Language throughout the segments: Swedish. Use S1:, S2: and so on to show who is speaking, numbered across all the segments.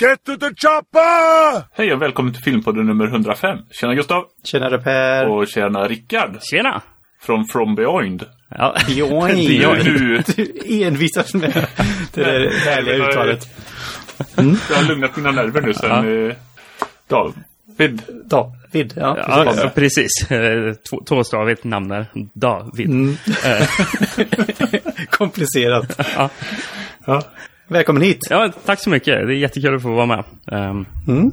S1: Get to the chopper!
S2: Hej och välkommen till Filmpodden nummer 105. Tjena Gustav!
S3: Tjenare Per!
S2: Och tjena Rickard!
S4: Tjena!
S2: Från From Beyond.
S4: Ja.
S3: Join!
S2: Det är du.
S3: Du envisas med det där härliga
S2: var-
S3: uttalet.
S2: Jag har lugnat mina nerver nu sen... eh, David.
S3: David, ja.
S4: Ja,
S3: precis.
S4: ja, precis. Eh, två- Tvåstavigt namn där. David. Eh,
S3: Komplicerat.
S4: Ja.
S2: Ja.
S3: Välkommen hit!
S4: ja, tack så mycket. Det är jättekul att få vara med. Ehm,
S3: Mm.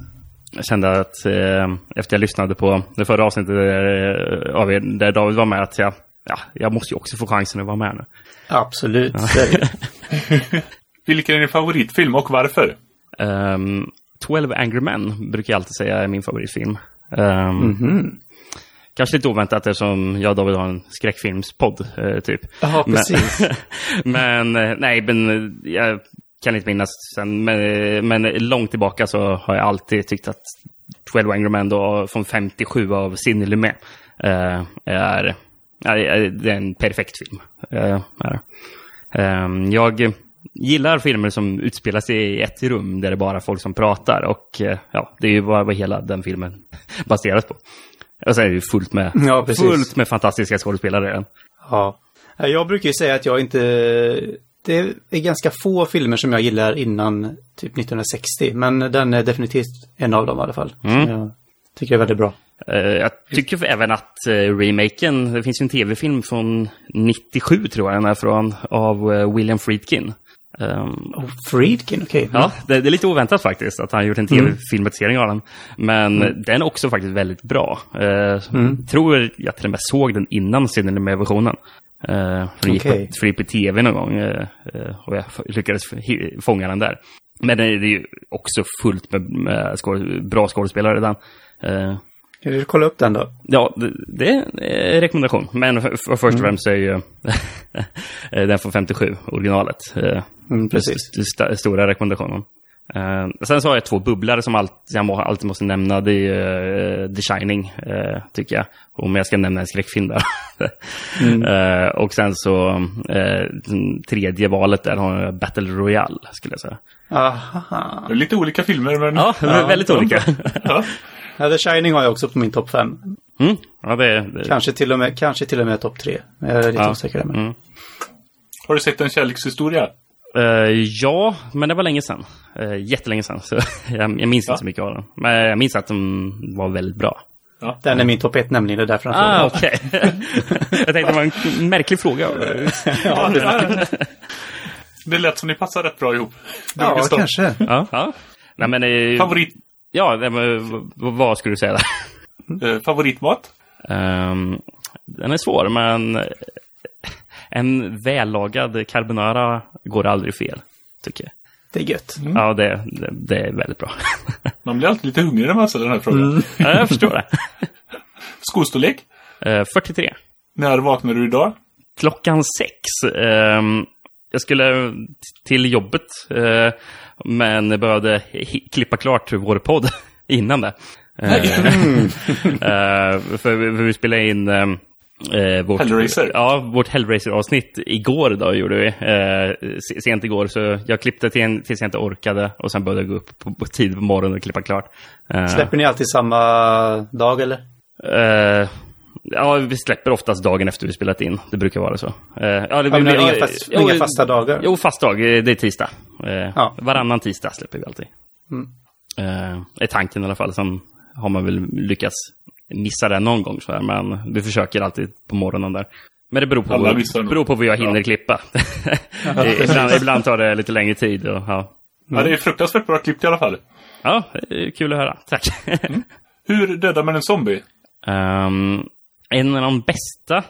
S4: Jag kände att eh, efter jag lyssnade på det förra avsnittet där, eh, av er, där David var med att jag, ja, jag måste ju också få chansen att vara med nu.
S3: Absolut. så är det.
S2: Vilken är din favoritfilm och varför?
S4: Ehm, 12 Angry Men brukar jag alltid säga är min favoritfilm.
S3: Mhm.
S4: Ehm, Kanske lite oväntat eftersom jag och David har en skräckfilmspodd, eh, typ.
S3: Ja, precis.
S4: Men, men eh, nej, men eh, jag kan inte minnas sen. Men, eh, men långt tillbaka så har jag alltid tyckt att 12 Angry Men då, från 57 av Sidney Lumet eh, är, är, är, det är en perfekt film. Eh, är. det. Ehm, jag gillar filmer som utspelar sig i ett rum där det bara är folk som pratar. Och eh, ja, det är ju vad, vad hela den filmen baseras på. Och sen är det ju fullt med,
S3: Ja, precis.
S4: fullt med fantastiska skådespelare. i den.
S3: Ja. Jag brukar ju säga att jag inte... Det är ganska få filmer som jag gillar innan typ 1960, men den är definitivt en av dem i alla fall.
S4: Mm.
S3: Som jag tycker är väldigt bra.
S4: Eh, jag tycker även att eh, remaken, det finns ju en tv-film från 97 tror jag den är från, av eh, William Friedkin. Ehm,
S3: Oh, Friedkin, okej.
S4: Ja, det, det är lite oväntat faktiskt att han gjort en tv-filmatisering av den. Men den är också faktiskt väldigt bra. Eh, Tror jag till och med såg den innan Sidney med versionen eh, för den gick på,
S3: Okej.
S4: för den gick på tv någon gång eh, eh, och jag f- lyckades f- hi- fånga den där. Men det är ju också fullt med, med skå- bra skådespelare i den. Eh,
S3: Ska du kolla upp den då?
S4: Ja, det- det är en eh, rekommendation. Men för, för
S3: Mm.
S4: först och främst så är ju eh, den från 57, originalet. eh,
S3: Mm, precis.
S4: den st- stora rekommendationen. Eh, sen så har jag två bubblare som allt, jag må, alltid måste nämna. Det är ju eh, The Shining, eh, tycker jag. Om jag ska nämna en skräckfilm där.
S3: Mm.
S4: Eh, och sen så, eh, den tredje valet där har jag Battle Royale, skulle jag säga.
S3: Aha.
S2: Det är Lite olika filmer,
S3: Mm.
S2: men...
S4: Ja, väldigt olika.
S2: Ja.
S3: Ja, The Shining har jag också på min topp 5.
S4: Mm. Ja, det, det,
S3: Kanske till och med, kanske till och med topp 3. Jag är lite
S4: Ja.
S3: osäker där. Men...
S4: mm.
S2: Har du sett En kärlekshistoria?
S4: Eh, ja, men det var länge sedan. Eh, jättelänge sedan. Så jag, jag minns
S2: Ja.
S4: inte så mycket av den. Men jag minns att den var väldigt bra.
S2: Ja.
S3: Den är min topp 1 nämligen, det är därför han
S4: Ah,
S3: ah.
S4: okej. jag tänkte det var en märklig fråga.
S2: Ja, det, det lät som ni passar rätt bra ihop. Du,
S3: Ja,
S2: Gustav.
S3: kanske.
S4: ja. ja. Nej, men, eh,
S2: Favorit,
S4: ja, nej, men, v- vad skulle du säga där?
S2: eh, favoritmat?
S4: Ehm, den är svår, men eh, en vällagad carbonara går aldrig fel, tycker jag.
S3: Det är gött.
S2: Mm.
S4: Ja, det, det, det är väldigt bra.
S2: Man blir alltid lite hungrig när man ställer den här frågan.
S3: Mm.
S4: ja, jag förstår det.
S2: Skostorlek?
S4: Eh, 43.
S2: När vaknar du idag?
S4: klockan sex. ehm, jag skulle till jobbet, eh, men behövde hi- klippa klart vår podd innan det. Eh, eh, för, vi- för vi spelade in ehm, eh, vårt
S2: Hellraiser.
S4: Ja, vårt Hellraiser-avsnitt igår då gjorde vi. Eh, se- sent igår, så jag klippte till en, tills jag inte orkade och sen började jag gå upp på, på tid på morgonen och klippa klart. Eh,
S3: Släpper ni alltid samma dag eller?
S4: Eh, ja, vi släpper oftast dagen efter vi spelat in. Det brukar vara så. Eh, ja, det,
S3: men
S4: det-
S3: inga fast-
S4: jo,
S3: inga fasta dagar?
S4: Jo, fast dag. eh, Det är tisdag. Eh,
S3: Ja. Mm.
S4: Varannan tisdag släpper vi alltid. Eh, är tanken i alla fall. Sen har man väl lyckats missa det någon gång. Så här, men vi försöker alltid på morgonen där. Men det beror på,
S2: Alla
S4: vad,
S2: missar nog.
S4: beror på vad jag hinner klippa. ibland, ibland tar det lite längre tid. Och, ja.
S2: Ja,
S3: Mm.
S2: det är fruktansvärt bra klippt i alla fall.
S4: ja, eh, kul att höra. Tack.
S2: Hur dödar man en zombie?
S4: Ehm, en av de bästa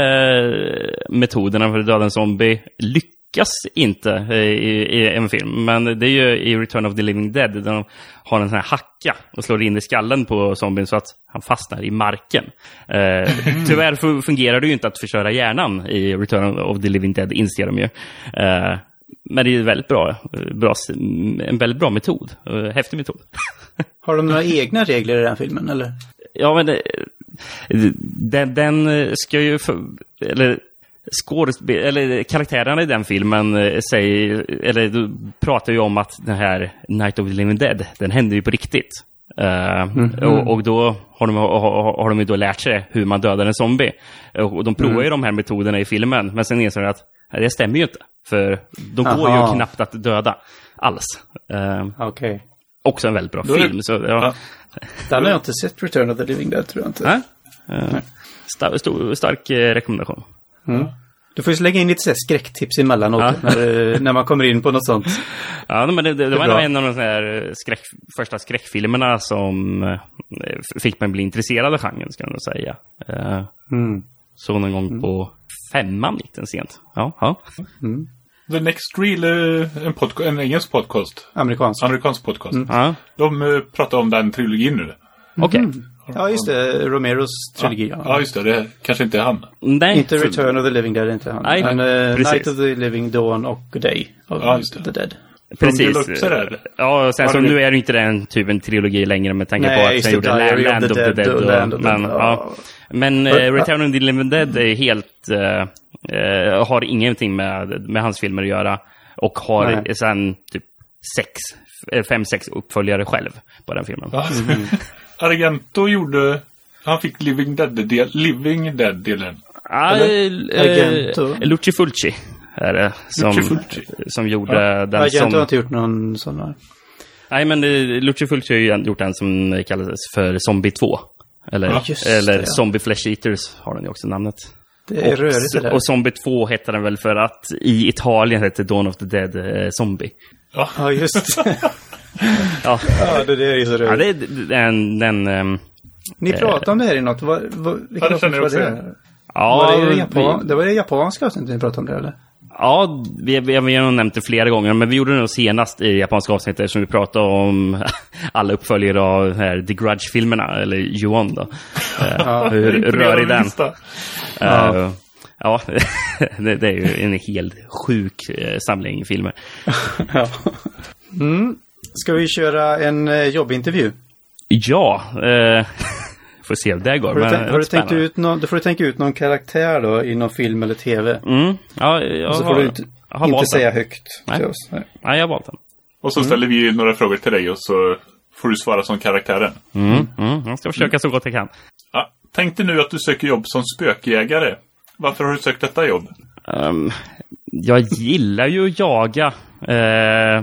S4: eh, metoderna för att döda en zombie lyckas inte eh, i, i en film. Men det är ju i Return of the Living Dead där de har en sån här hacka och slår in i skallen på zombien så att han fastnar i marken. Eh, tyvärr fu- fungerar det ju inte att förstöra hjärnan i Return of the Living Dead, inser de ju. Eh, men det är ju väldigt bra, eh, bra, en väldigt bra metod. eh, Häftig metod.
S3: Har de några egna regler i den filmen eller?
S4: Ja, men eh, den, den eh, ska ju... För, eller, skådesp- eller karaktärerna i den filmen eh, säger, eller du pratar ju om att den här Night of the Living Dead, den hände ju på riktigt. Eh,
S2: Mm-hmm.
S4: och, och då har de, har, har de ju då lärt sig hur man dödar en zombie. Och de provar
S2: Mm.
S4: ju de här metoderna i filmen, men sen inser de att "Nej, det stämmer ju inte. För de går
S3: Aha.
S4: ju knappt att döda alls. Eh,
S3: Okej.
S4: också en väldigt bra
S2: Då är det-
S4: film. Så, ja.
S3: Den har jag inte sett, Return of the Living Dead, tror jag inte.
S4: Nej? Eh, sta- stor, stark eh, rekommendation.
S3: Mm. Du får ju slänga in lite så här skräcktips emellanåt
S4: Ja.
S3: när, eh, när man kommer in på något sånt.
S4: Ja, men det, det, det var
S3: bra.
S4: en av de sån här eh, skräck, första skräckfilmerna som eh, f- fick mig bli intresserad av genren, ska jag nog säga. Eh, Så någon gång på femman gick den sent. Ja, ja.
S2: The Next Reel, eh, en, podca- en engelsk podcast.
S3: Amerikansk.
S2: Amerikansk podcast.
S3: Mm.
S4: ja.
S2: De eh, pratar om den trilogin nu.
S4: Okej.
S3: Ja, just det. Romeros trilogi. Ja.
S2: Ja, just det. Det kanske inte är han.
S4: Nej.
S3: Inte Return of the Living Dead, inte han.
S4: Nej,
S3: Men eh,
S4: precis.
S3: Night of the Living Dawn och Day of
S2: Ja, just det.
S3: the Dead.
S4: Precis.
S2: Deluxe är det.
S4: Ja, och sen
S2: Var
S4: så
S2: det-
S4: nu är det inte den typ en trilogi längre med tanke
S3: Nej,
S4: på att
S3: just
S4: sen
S3: det,
S4: gjorde
S3: Diary
S4: Land,
S3: of
S4: Land
S3: the
S4: of the
S3: Dead
S4: Dead.
S3: och
S4: och-
S3: Land of the
S4: men
S3: Dead,
S4: ja.
S3: ja.
S4: men eh,
S3: Ja.
S4: Return of the Living Dead är helt, eh, eh, har ingenting med, med hans filmer att göra. Och har
S3: Nej.
S4: sen typ sex, eh, fem, sex uppföljare själv på den filmen.
S3: Mm-hmm.
S2: Argento gjorde... Han fick Living Dead-delen. Living Dead-delen.
S4: Ah,
S3: Argento.
S4: eh, Luci Fulci är det som,
S2: Lucio Fulci.
S4: som gjorde den
S3: Agent har
S4: som...
S3: inte gjort någon sån här.
S4: Nej, men eh, Lucio Fulci har ju gjort en som kallas för Zombie 2. Eller,
S2: Ja,
S3: just
S4: eller
S3: det, ja.
S4: Zombie Flesh Eaters har den ju också namnet.
S3: Det är
S4: och,
S3: rörigt det där.
S4: och Zombie 2 hette den väl för att i Italien hette Dawn of the Dead eh, Zombie.
S3: Ja, just det.
S4: Ja,
S3: ja, det där är ju så
S4: ja
S3: rörigt.
S4: det är d- den... den ehm,
S3: Ni pratade om det här i något. Vad, vad, vilken
S2: det känner jag
S3: avsnitt var
S2: också
S3: det?
S4: ja,
S3: var det, det,
S4: vi-
S3: Japan, det var det japanska avsnittet ni pratade om det, eller?
S4: Ja, vi, vi, vi har nog nämnt det flera gånger, men vi gjorde det nog senast i japanska avsnittet som vi pratade om alla uppföljare av den här The Grudge-filmerna, eller Yuan då. Eh, Hur rörig den. Ja, ja det, det är ju en helt sjuk eh, samling filmer.
S3: Mm. Ska vi köra en eh, jobbintervju?
S4: Ja, eh, får se hur det går.
S3: Har du,
S4: men
S3: tänkt, har du tänkt
S4: spännande.
S3: ut någon, då får du tänka ut någon karaktär då i någon film eller tv.
S4: Mm, ja, jag
S3: Och så
S4: har,
S3: får du inte,
S4: jag har
S3: inte
S4: valt
S3: säga
S4: den.
S3: högt
S4: Nej.
S3: till oss. Nej.
S4: Ja, jag har valt den.
S2: Och
S3: Mm.
S2: så ställer vi några frågor till dig och så får du svara som karaktären.
S4: Mm, mm, jag ska försöka så gott jag kan.
S2: Ja. Tänk dig nu att du söker jobb som spökjägare. Varför har du sökt detta jobb?
S4: Ehm, jag gillar ju att jaga eh,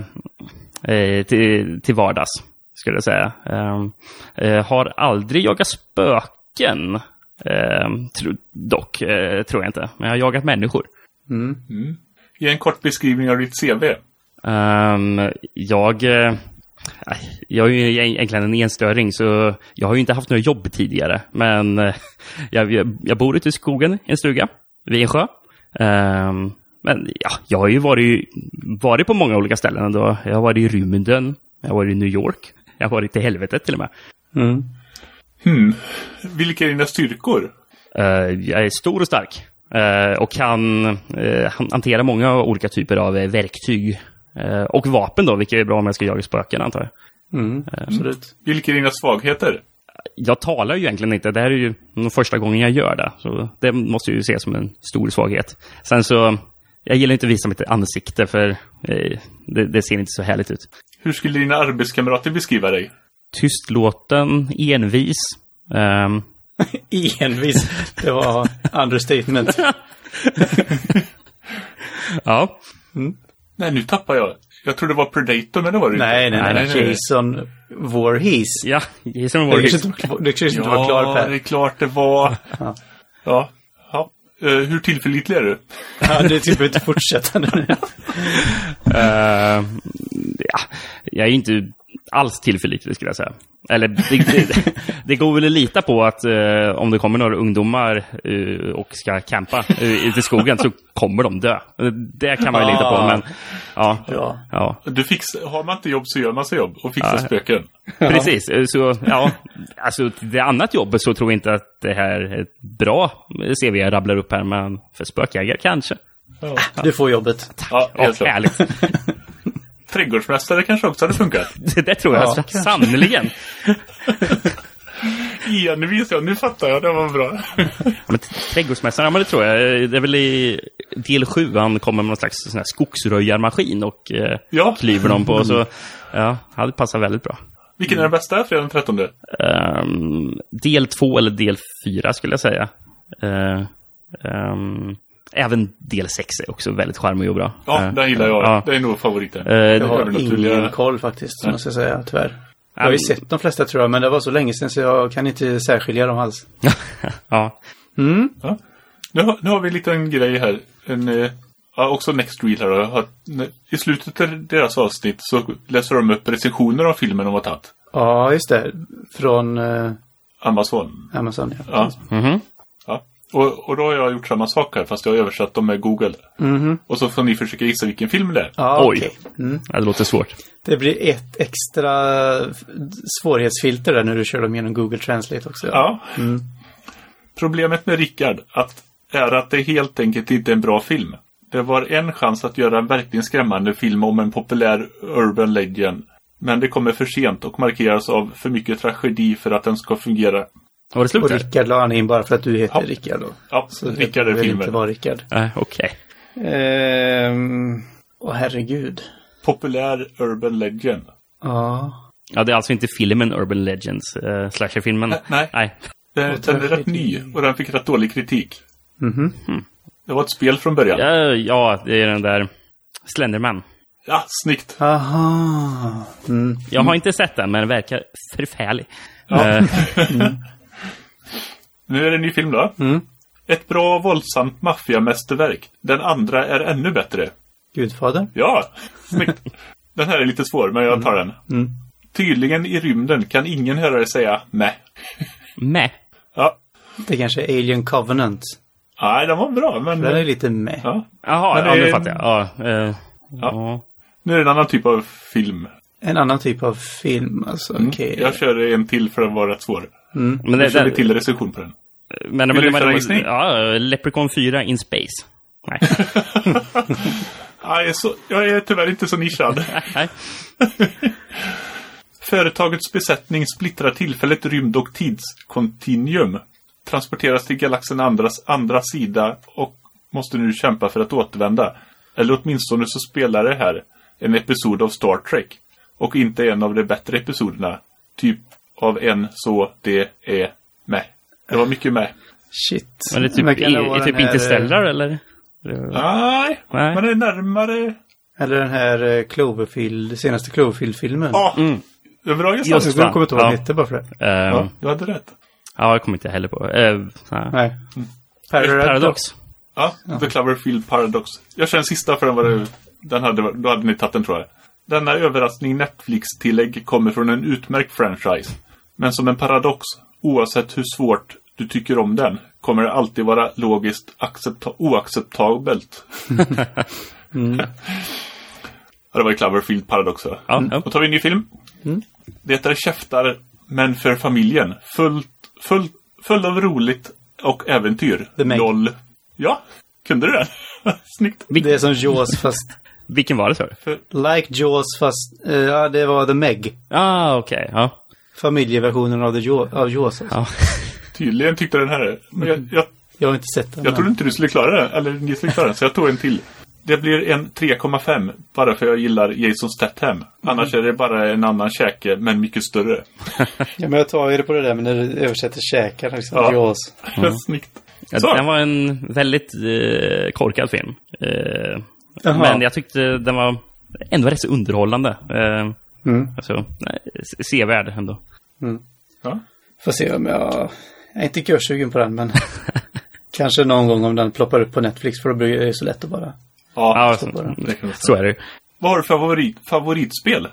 S4: eh, till, till vardags, skulle jag säga. Ehm, eh, har aldrig jagat spöken, ehm, tro, dock, eh, tror jag inte. Men jag har jagat människor.
S2: Ge en kort beskrivning av ditt CV.
S4: Ehm, jag, eh, aj, jag är ju egentligen en enstöring, så jag har ju inte haft några jobb tidigare. Men eh, jag, jag, jag bor ute i skogen i en stuga vid en sjö. Ehm, men ja, jag har ju varit, varit på många olika ställen ändå. Jag har varit i Rymden, jag har varit i New York, jag har varit i helvetet till och med.
S2: Hmm. Vilka är dina styrkor?
S4: Eh, jag är stor och stark eh, och kan eh, han- hantera många olika typer av eh, verktyg. eh, och vapen då, vilket är bra om jag ska jaga spöken antar jag.
S3: Mm, absolut.
S2: Vilka är dina svagheter?
S4: jag talar ju egentligen inte. Det här är ju den första gången jag gör det. Så det måste ju ses som en stor svaghet. Sen så, jag gillar inte att visa mitt ansikte för eh, det, det ser inte så härligt ut.
S2: Hur skulle dina arbetskamrater beskriva dig?
S4: Tystlåten, envis. Ehm,
S3: Envis. Det var understatement.
S4: ja,
S2: Nej, nu tappar jag. Jag trodde det var Predator, men det var det
S3: nej,
S2: inte.
S3: nej, nej, Jason Voorhees.
S4: ja, Jason
S3: Du
S4: Voorhees.
S3: kanske inte var- du kanske inte var klar
S2: Ja, det är
S3: Per.
S2: klart det var.
S3: Ja.
S2: Ja. ja. Eh, hur tillförlitlig är du?
S3: Ja, typ du behöver inte fortsätta nu.
S4: Eh, ja, jag är ju inte alls tillförlitlig skulle jag säga. Eller det, det, det går väl att lita på att eh, om det kommer några ungdomar eh, och ska campa uh, ute i skogen så kommer de dö. Det kan man ju lita på. Men, ja,
S3: Ja.
S4: ja,
S2: Du fix... Har man inte jobb så gör man sig jobb och fixar
S4: Ja.
S2: spöken.
S4: precis. Eh, Så, ja, alltså, det annat jobbet så tror jag inte att det här är ett bra CV jag rabblar upp här. Men för spökjägare kanske.
S2: Ja,
S3: Du får jobbet.
S2: ja
S4: Ja,
S2: helt klart.
S4: härligt.
S2: Trädgårdsmästare kanske också hade funkat.
S4: Det, det tror jag
S3: Ja,
S4: sannerligen.
S2: envis jag. Nu fattar jag, det var bra.
S4: Men t- trädgårdsmästaren, ja men det tror jag. Eh, Det är väl i del 7 han kommer med någon slags sån här skogsröjarmaskin och eh,
S2: Ja.
S4: klyver dem på. Så, ja, han passar väldigt bra.
S2: Vilken är den bästa, fredag den 13?
S4: Ehm, del 2 eller del 4 skulle jag säga. Eh, ehm, även del 6 är också väldigt charmig och bra.
S2: Ja,
S4: Eh,
S2: den gillar jag.
S4: ja.
S2: Det är nog favoriten.
S4: Eh,
S3: Jag
S2: var
S3: har
S2: väl
S3: ingen
S2: naturliga-
S3: koll faktiskt, som jag ska säga, tyvärr. Jag har ju
S4: men-
S3: sett de flesta tror jag, men det var så länge sedan så jag kan inte särskilja dem alls.
S4: ja.
S3: Mm.
S2: Ja. Nu, har- nu har vi en liten grej här. En, eh, ja, också Next Reel här. då. Att, n- I slutet av deras avsnitt så läser de upp recensioner av filmen de har tagit.
S3: Ja, just det. Från eh,
S2: Amazon.
S3: Amazon, ja.
S2: Ja.
S4: Mhm.
S2: Ja. Och, och då har jag gjort samma sak här fast jag har översatt dem med Google.
S3: Mhm.
S2: Och så får ni försöka gissa vilken film det är.
S3: Ja,
S4: Oj.
S3: okej. Mm.
S4: ja, det låter svårt.
S3: Det blir ett extra f- svårighetsfilter där när du kör dem genom Google Translate också.
S2: Ja.
S3: Mm.
S2: Problemet med Rickard att, är att det helt enkelt inte är en bra film. Det var en chans att göra en verkligen skrämmande film om en populär urban legend. Men det kommer för sent och markeras av för mycket tragedi för att den ska fungera.
S4: Var det slut
S3: Och
S4: där?
S3: Rickard la han in bara för att du heter
S2: Ja.
S3: Rickard då.
S2: Ja,
S3: Så det
S2: Rickard är
S3: vill inte
S2: filmen.
S3: vara Rickard.
S4: Eh, Okej.
S3: Ehm, åh herregud.
S2: Populär urban legend.
S3: Ja.
S4: Ja, det är alltså inte filmen Urban Legends, eh, slasherfilmen.
S2: Nej, nej.
S4: nej.
S2: Den, den är rätt ny och den fick rätt dålig kritik.
S3: Mhm.
S2: Det var ett spel från början. Ja,
S4: Ja, Eh, ja, det är den där Slenderman.
S2: snyggt.
S3: Aha. Mm.
S4: Jag har inte sett den, men den verkar förfärlig. Eh,
S2: Nu är det en ny film då.
S3: Mm.
S2: Ett bra och våldsamt maffiamästerverk. Den andra är ännu bättre.
S3: Gudfader?
S2: Ja, snyggt. Den här är lite svår, men jag tar den.
S3: Mm.
S2: Tydligen i rymden kan ingen hörare säga nej.
S4: meh.
S2: Ja,
S3: Det kanske är Alien Covenant.
S2: nej, den var bra, men...
S3: Den är lite med.
S2: Ja.
S4: Jaha,
S2: Men
S4: ja,
S2: det-
S4: nu fattar jag. Ja, eh, ja.
S2: Nu är det en annan typ av film.
S3: En annan typ av film alltså.
S2: Mm.
S3: Okej.
S2: Jag kör en till för den var rätt svår.
S4: Men
S2: Nu
S4: det,
S2: kör vi
S4: det,
S2: till recension på den.
S4: men, men,
S2: Vill du
S4: men,
S2: köra
S4: men,
S2: gissning?
S4: ja, Leprechaun 4 in space. Nej.
S2: Nej, så, jag är tyvärr inte så nischad.
S4: nej.
S2: Företagets besättning splittrar tillfälligt rymd och tidskontinuum. Transporteras till galaxen andras andra sida och måste nu kämpa för att återvända. Eller åtminstone så spelar det här en episod av Star Trek. Och inte en av de bättre episoderna. Typ av en så det är med. Det var mycket med.
S3: Shit.
S4: Men det är typ,
S3: Verkar
S4: i,
S3: vara
S4: är typ
S3: den här,
S4: Interstellar, eller?
S2: Nej,
S4: Nej.
S2: men det är närmare.
S3: eh, Eller den här eh, Cloverfield, senaste Cloverfield-filmen.
S2: Ja, det var bra gissat.
S4: Just-
S3: Jag kommer inte ihåg vad
S4: Ja.
S3: den hette bara för det.
S4: Eh,
S2: Ja,
S4: ja.
S2: du hade rätt.
S4: jag kommer inte heller på. Uh,
S3: Nej.
S2: Mm.
S4: Paradox.
S2: Ja, The Cloverfield Paradox. Jag kör den sista för den var
S4: Mm.
S2: det, den hade, då hade ni tagit den tror jag. Denna överraskning Netflix-tillägg kommer från en utmärkt franchise. Men som en paradox, oavsett hur svårt du tycker om den, kommer det alltid vara logiskt accepta- oacceptabelt. ja, det var ju Cloverfield Paradox. va?
S4: Mm.
S2: Mm.
S4: Ja, ja.
S2: Då tar vi en ny film. Det är käftar, men för familjen. Fullt, fullt, full av roligt och äventyr.
S3: The Meg.
S2: Noll. Ja, kunde du det? Snyggt.
S3: Det är som Jaws fast...
S4: Vilken var det, sa du?
S3: Like Jaws fast... eh, Ja, det var The Meg.
S4: Ah, okej. Ja.
S3: Familjeversionen av, the Jaws, av Jaws. Alltså.
S4: Ja.
S2: Tydligen tyckte den här... Men jag, jag,
S3: Jag har inte sett den.
S2: jag
S3: men-
S2: trodde inte du skulle klara den, eller ni skulle klara den, så jag tog en till. Det blir en 3,5 bara för jag gillar Jason Statham. Annars är det bara en annan käke, men mycket större.
S3: Ja, men jag tar ju det på det där, men när du översätter käkar liksom,
S2: Ja.
S3: Jaws.
S2: Snyggt.
S4: Ja,
S2: Så.
S4: Den var en väldigt eh, korkad film. Eh,
S3: Jaha.
S4: men jag tyckte den var ändå rätt så underhållande. Eh,
S3: Mm.
S4: alltså, nej, se- sevärd ändå.
S2: Ja.
S3: Får se om jag... Jag är inte görsugen på den, men kanske någon gång om den ploppar upp på Netflix, för då blir det ju så lätt att bara...
S2: Ja,
S4: Ja,
S3: förstår
S4: så,
S3: bara.
S2: det kan jag säga.
S4: så är det ju.
S2: Vad har du för favorit, favoritspel?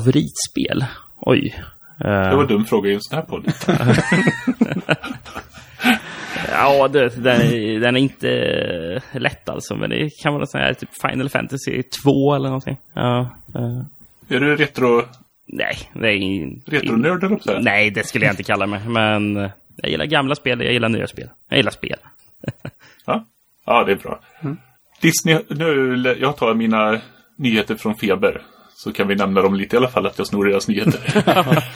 S4: Favoritspel? Oj.
S2: Det var
S4: Eh,
S2: en dum fråga i en sån här podd.
S4: ja, det, den, är- den är inte eh, lätt alltså, men det kan vara sån här typ Final Fantasy 2 eller någonting. Ja, eh,
S2: Är du retro,
S4: nej, det är in,
S2: retronörd eller så?
S4: Nej, det skulle jag inte kalla mig, men eh, jag gillar gamla spel, jag gillar nya spel. Jag gillar spel.
S2: Ja, ja det är bra.
S3: Mm.
S2: Disney, nu, lä- jag tar mina nyheter från Feber. Så kan vi nämna dem lite i alla fall, att jag snor deras nyheter.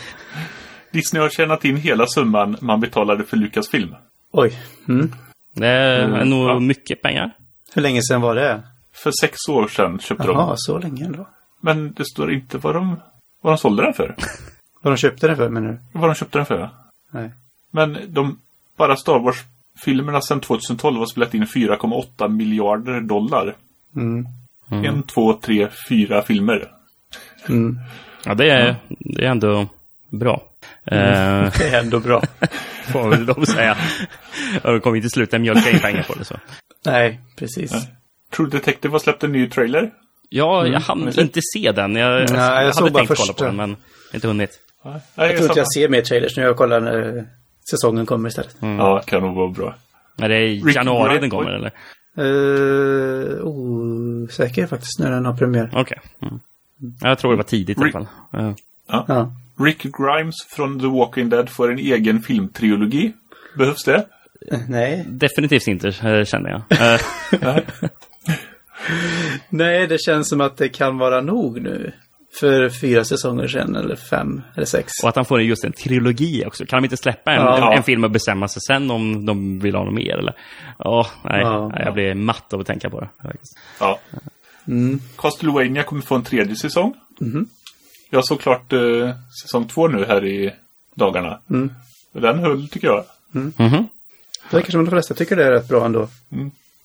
S2: Disney har tjänat in hela summan man betalade för Lukas film.
S3: Oj. Mm.
S4: Det är
S2: Mm,
S4: nog
S2: ja.
S4: mycket pengar.
S3: Hur länge sedan var det?
S2: För sex år sedan köpte
S3: Jaha,
S2: de.
S3: så länge ändå.
S2: Men det står inte vad de, vad de sålde den för.
S3: Vad de köpte det för menar du?
S2: Vad de köpte den för.
S3: Nej.
S2: Men de, bara Star Wars-filmerna sedan 2012 har spelat in 4,8 miljarder dollar.
S3: Mm.
S2: En, två, tre, fyra filmer.
S3: Mm.
S4: Ja, det är, det är ändå bra. Eh,
S3: Det är ändå bra.
S4: får väl de säga. Ja, De kommer inte sluta mjölka in pengar på det. Så.
S3: Nej, precis.
S2: True Detective har släppt en ny trailer.
S4: Ja, jag hann inte se den. Jag, alltså,
S3: Mm. jag
S4: jag hade
S3: såg bara
S4: tänkt kolla på
S3: första.
S4: den, men inte hunnit.
S2: Nej,
S3: Jag tror inte
S2: samma.
S3: jag ser mer trailers nu. Jag kollar när eh, säsongen kommer istället.
S2: Ja, kan nog vara bra.
S4: Är det i
S2: Rick
S4: januari den
S2: Grimes.
S4: kommer, eller?
S3: Mm. Uh, osäker faktiskt när den har premiär.
S4: Okej. Mm. Jag tror det var tidigt i alla
S2: Rick-
S4: fall. Eh, Ja.
S3: Ja.
S2: Rick Grimes från The Walking Dead får en egen filmtrilogi. Behövs det?
S3: Eh, Nej.
S4: Definitivt inte, eh, känner jag. Eh,
S2: Nej.
S3: Nej, det känns som att det kan vara nog nu. För fyra säsonger sedan, eller fem, eller sex.
S4: Och att han får just en trilogi också. Kan de inte släppa en,
S3: Ja.
S4: en, en film och bestämma sig sen om de vill ha något mer? Eller? Ja, nej,
S3: Ja.
S4: nej, jag blir matt av att tänka på det. faktiskt.
S2: Ja.
S3: Mm. Mhm.
S2: Castlevania kommer få en tredje säsong. Jag såg klart eh, säsong två nu här i dagarna.
S3: Mm.
S2: Och Den höll, tycker jag.
S3: Mm-hmm.
S4: Mhm.
S3: Det verkar som de flesta tycker det är rätt bra ändå.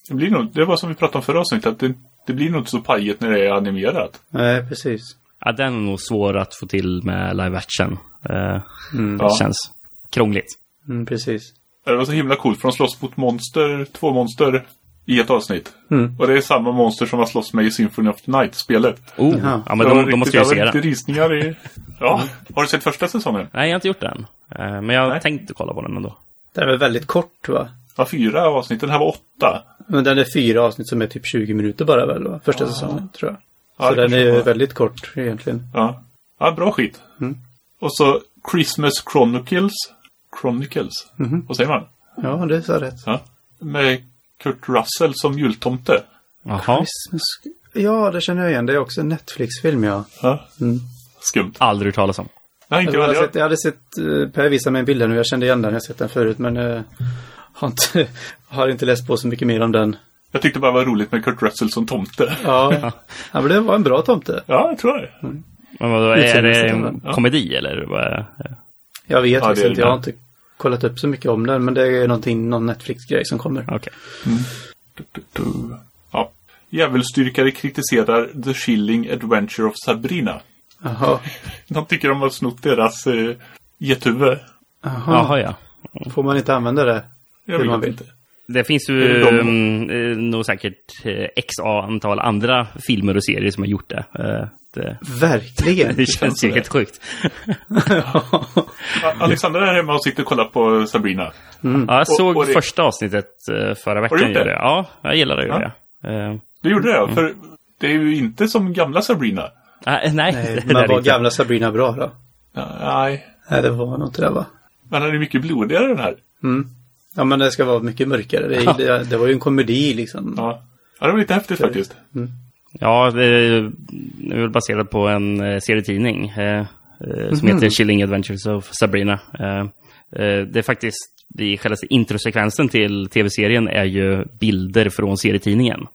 S2: Det, blir nog, det var som vi pratade om förra avsnittet, att det, det blir nog inte så pajigt när det är animerat.
S3: Nej, precis.
S4: Ja, den är nog svår att få till med live action. Eh, Det
S2: Mm. Ja.
S4: känns krångligt.
S3: Mm, precis.
S2: Det var så himla coolt, för de slåss mot monster, två monster i ett avsnitt.
S3: Mm.
S2: Och det är samma monster som man slåss med i Symphony of the Night-spelet.
S4: Oh,
S3: Jaha.
S4: ja, men
S2: Det var
S4: de, de
S2: riktigt-
S4: måste ju
S2: det
S4: se
S2: var
S4: den.
S2: riktigt risningar i... Ja, har du sett första säsongen?
S4: Nej, jag har inte gjort den. Eh, Men jag
S2: Nej.
S4: tänkte kolla på den ändå.
S3: Den är väl väldigt kort, va?
S2: Ja, fyra avsnitt. Den här var åtta.
S3: Men den är fyra avsnitt som är typ 20 minuter bara väl, va? Första säsongen, tror jag.
S2: Ah. Ja,
S3: Så
S2: det
S3: den är
S2: kanske
S3: ju Mm.
S2: var.
S3: väldigt kort egentligen.
S2: Ja, ja bra skit. Och så Christmas Chronicles. Chronicles?
S3: Mhm.
S2: Vad säger man?
S3: Ja, det sa rätt.
S2: Ja. Med Kurt Russell som jultomte.
S4: Jaha.
S3: Christmas- Ja, det känner jag igen. Det är också en Netflix-film, ja.
S2: Ja.
S3: Mm.
S2: Skumt.
S4: Aldrig hört talas om.
S2: Nej, inte
S3: Jag
S2: jag.
S3: hade, sett,
S2: jag.
S3: jag hade sett, eh, Per visade mig en bild här nu, jag kände igen den, jag har sett den förut, men eh, har, inte, har inte läst på så mycket mer om den.
S2: Jag tyckte bara det var roligt med Kurt Russell som tomte.
S3: Ja, ja men det var en bra tomte.
S2: Ja, jag tror det.
S3: Mm.
S4: Men vadå, är det
S3: Utseendemässigt,
S4: en
S2: ja.
S4: komedi eller? vad är- eh,
S3: Jag vet
S2: det
S3: faktiskt
S2: är
S3: inte,
S2: det.
S3: jag har inte kollat upp så mycket om den, men det är någonting, någon Netflix-grej som kommer.
S4: Okej.
S2: Du, du, du. Ja. Djävulsdyrkare kritiserar The Chilling Adventure of Sabrina.
S3: Jaha,
S2: De tycker de har snott deras eh, gethuvud.
S3: jaha.
S4: Jaha, ja.
S3: Får man inte använda det?
S2: Jag
S3: Det man
S2: vet
S3: vill.
S2: inte.
S4: Det finns
S2: Är
S4: ju
S2: det de-
S4: mm, eh, nog säkert eh, x antal andra filmer och serier som har gjort det. Eh, Det,
S3: Verkligen!
S4: det känns ju helt sjukt.
S2: Ja, Alexander är hemma och sitter och kollar på Sabrina.
S4: Ja, jag såg
S2: Mm. och det-
S4: första avsnittet eh, förra veckan.
S2: gjort det?
S4: gjorde jag. Ja, jag gillar det.
S2: Ja.
S4: gjorde jag. Eh,
S2: Du gjorde det, ja, för det är ju inte som gamla Sabrina.
S4: nej, nej,
S3: Nej,
S4: det där
S3: men
S4: är
S3: var
S4: inte.
S3: gamla Sabrina bra då?
S2: Nej,
S3: Nej, det var nog inte det va?
S2: men den är mycket blodigare den här.
S3: Mm. Ja, men det ska vara mycket mörkare. Det, det, det var ju en komedi liksom.
S2: Ja, ja det var lite häftigt faktiskt.
S4: Ja, det är det är väl baserat på en eh, serietidning eh, eh, som heter Chilling Adventures of Sabrina. Eh, eh, det är faktiskt, i själva introsekvensen till tv-serien är ju bilder från serietidningen.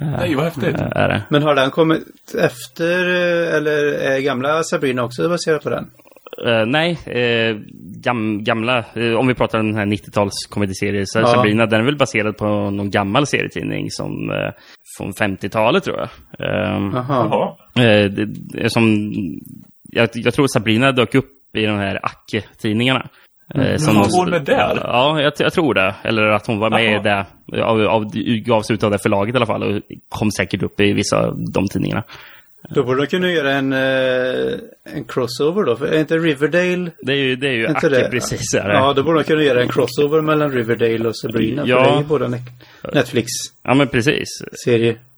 S2: Nej, vad häftigt.
S4: eh, Är det.
S3: Men har den kommit efter eh, eller är gamla Sabrina också baserad på den?
S4: Eh, nej, eh, gam, gamla, eh, om vi pratar om den här 90-talskomediserien, så
S3: Ja.
S4: Sabrina, den är väl baserad på någon gammal serietidning som eh, från 50-talet tror jag. Ehm,
S3: Jaha.
S2: Jaha.
S4: eh, det, det är som, jag, jag tror Sabrina dök upp i de här Acke-tidningarna.
S3: Mm.
S4: Eh, som
S2: Jaha,
S4: de-
S2: hon är där?
S4: Ja, jag, jag tror det. Eller att hon var med i det, av, av, gavs ut av det förlaget i alla fall och kom säkert upp i vissa av de tidningarna.
S3: Då borde de kunna göra en, eh, en crossover då. För är inte Riverdale?
S4: Det är ju, det är ju
S3: Är inte
S4: Acke
S3: det?
S4: precis. Är det.
S3: Ja, då borde de kunna göra en crossover mellan Riverdale och Sabrina.
S4: Ja.
S3: För det är ju båda ne- Netflix-serier.
S4: ja, men precis.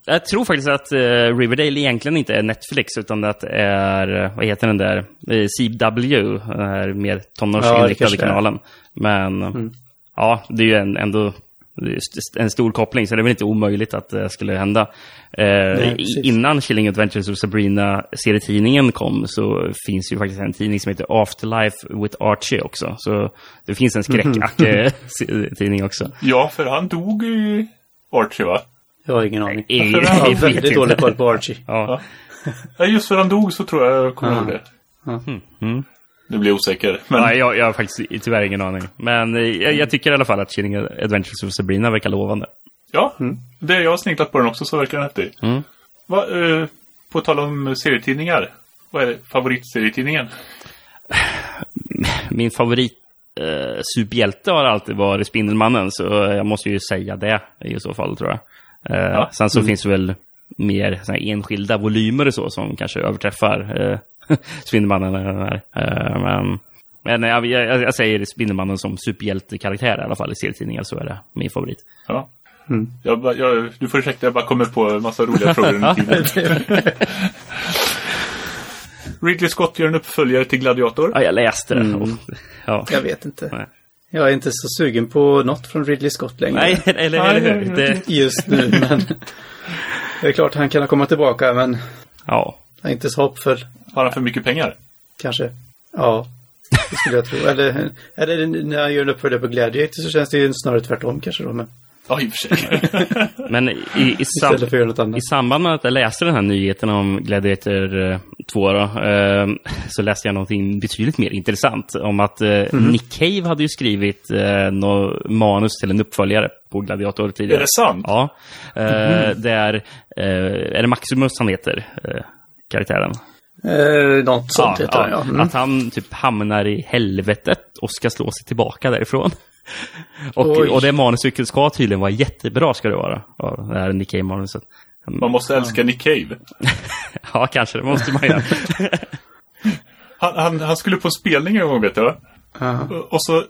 S4: Jag tror faktiskt att eh, Riverdale egentligen inte är Netflix utan att det är, eh, vad heter den där, eh, CW, den här mer
S3: Ja, det Mm.
S4: tonårsinriktade
S3: kanske det är.
S4: kanalen. Men ja, det är ju en, ändå st- en stor koppling, så det är väl inte omöjligt att det skulle hända. Eh,
S3: precis.
S4: i- innan Chilling Adventures och Sabrina serietidningen kom så finns ju faktiskt en tidning som heter Afterlife with Archie också. Så det finns en
S3: Mhm.
S4: skräckacke-tidning också.
S2: Ja, för han dog ju Archie va?
S3: Jag har ingen aning.
S4: I-
S3: Jag har
S4: i-
S3: väldigt dålig koll på Archie.
S4: Ja.
S2: Ja, just för han dog så tror jag jag kommer ihåg det.
S4: Mm.
S2: Nu blir jag osäker. Men
S4: Nej, jag, jag har faktiskt tyvärr ingen aning. Men eh, jag, jag tycker i alla fall att Chilling Adventures of Sabrina verkar lovande.
S2: ja, det jag har snicklat på den också så verkar den häftig.
S4: Mm.
S2: Va, eh, på tal om serietidningar. Vad är det? favoritserietidningen?
S4: Min favorit eh, superhjälte har alltid varit Spindelmannen, så jag måste ju säga det i så fall tror jag. Eh,
S2: Ja.
S4: Sen så finns det väl mer såna här enskilda volymer och så som kanske överträffar eh, Spindelmannen. eller den Här. Eh, men men eh, jag, jag, jag säger Spindelmannen som superhjältekaraktär i alla fall i serietidningar, så är det min favorit.
S2: Ja. Jag, bara- jag, du får ursäkta, jag bara kommer på en massa roliga frågor under tiden. Ridley Scott gör en uppföljare till Gladiator.
S4: Ja, jag läste det. Oh. Ja.
S3: Jag vet inte.
S4: Nej.
S3: Jag är inte så sugen på något från Ridley Scott längre.
S4: Nej, eller, eller hur? Det,
S3: Just nu, men... Det är klart han kan komma tillbaka, men
S4: ja.
S3: jag är inte så hoppfull.
S2: Har han för mycket pengar?
S3: Kanske. Ja, det skulle jag tro. Eller, eller när han gör en uppföljare på Gladiator så känns det ju snarare tvärtom kanske då. Men
S2: Ja, i och för sig.
S4: Men i, i, sam,
S3: istället för att göra något annat.
S4: i samband med att jag läste den här nyheten om Gladiator eh, 2 då, eh, så läste jag någonting betydligt mer intressant om att eh, Nick Cave hade ju skrivit eh, nå- manus till en uppföljare på Gladiator tidigare.
S2: Är det sant?
S4: Ja. Eh, Det är, eh, är det Maximus han heter, eh, karaktären?
S3: Eh, något sånt heter han, ja. Mm.
S4: Att han typ hamnar i helvetet och ska slå sig tillbaka därifrån. Och,
S3: Oj.
S4: och det manuset ska tydligen vara jättebra, ska det vara. Ja, Det här Nick Cave-manuset.
S2: Man måste älska Nick Cave.
S4: Ja, kanske det måste man göra.
S2: Han, han, han skulle på en spelning en gång vet jag.
S3: Ja.
S2: Och så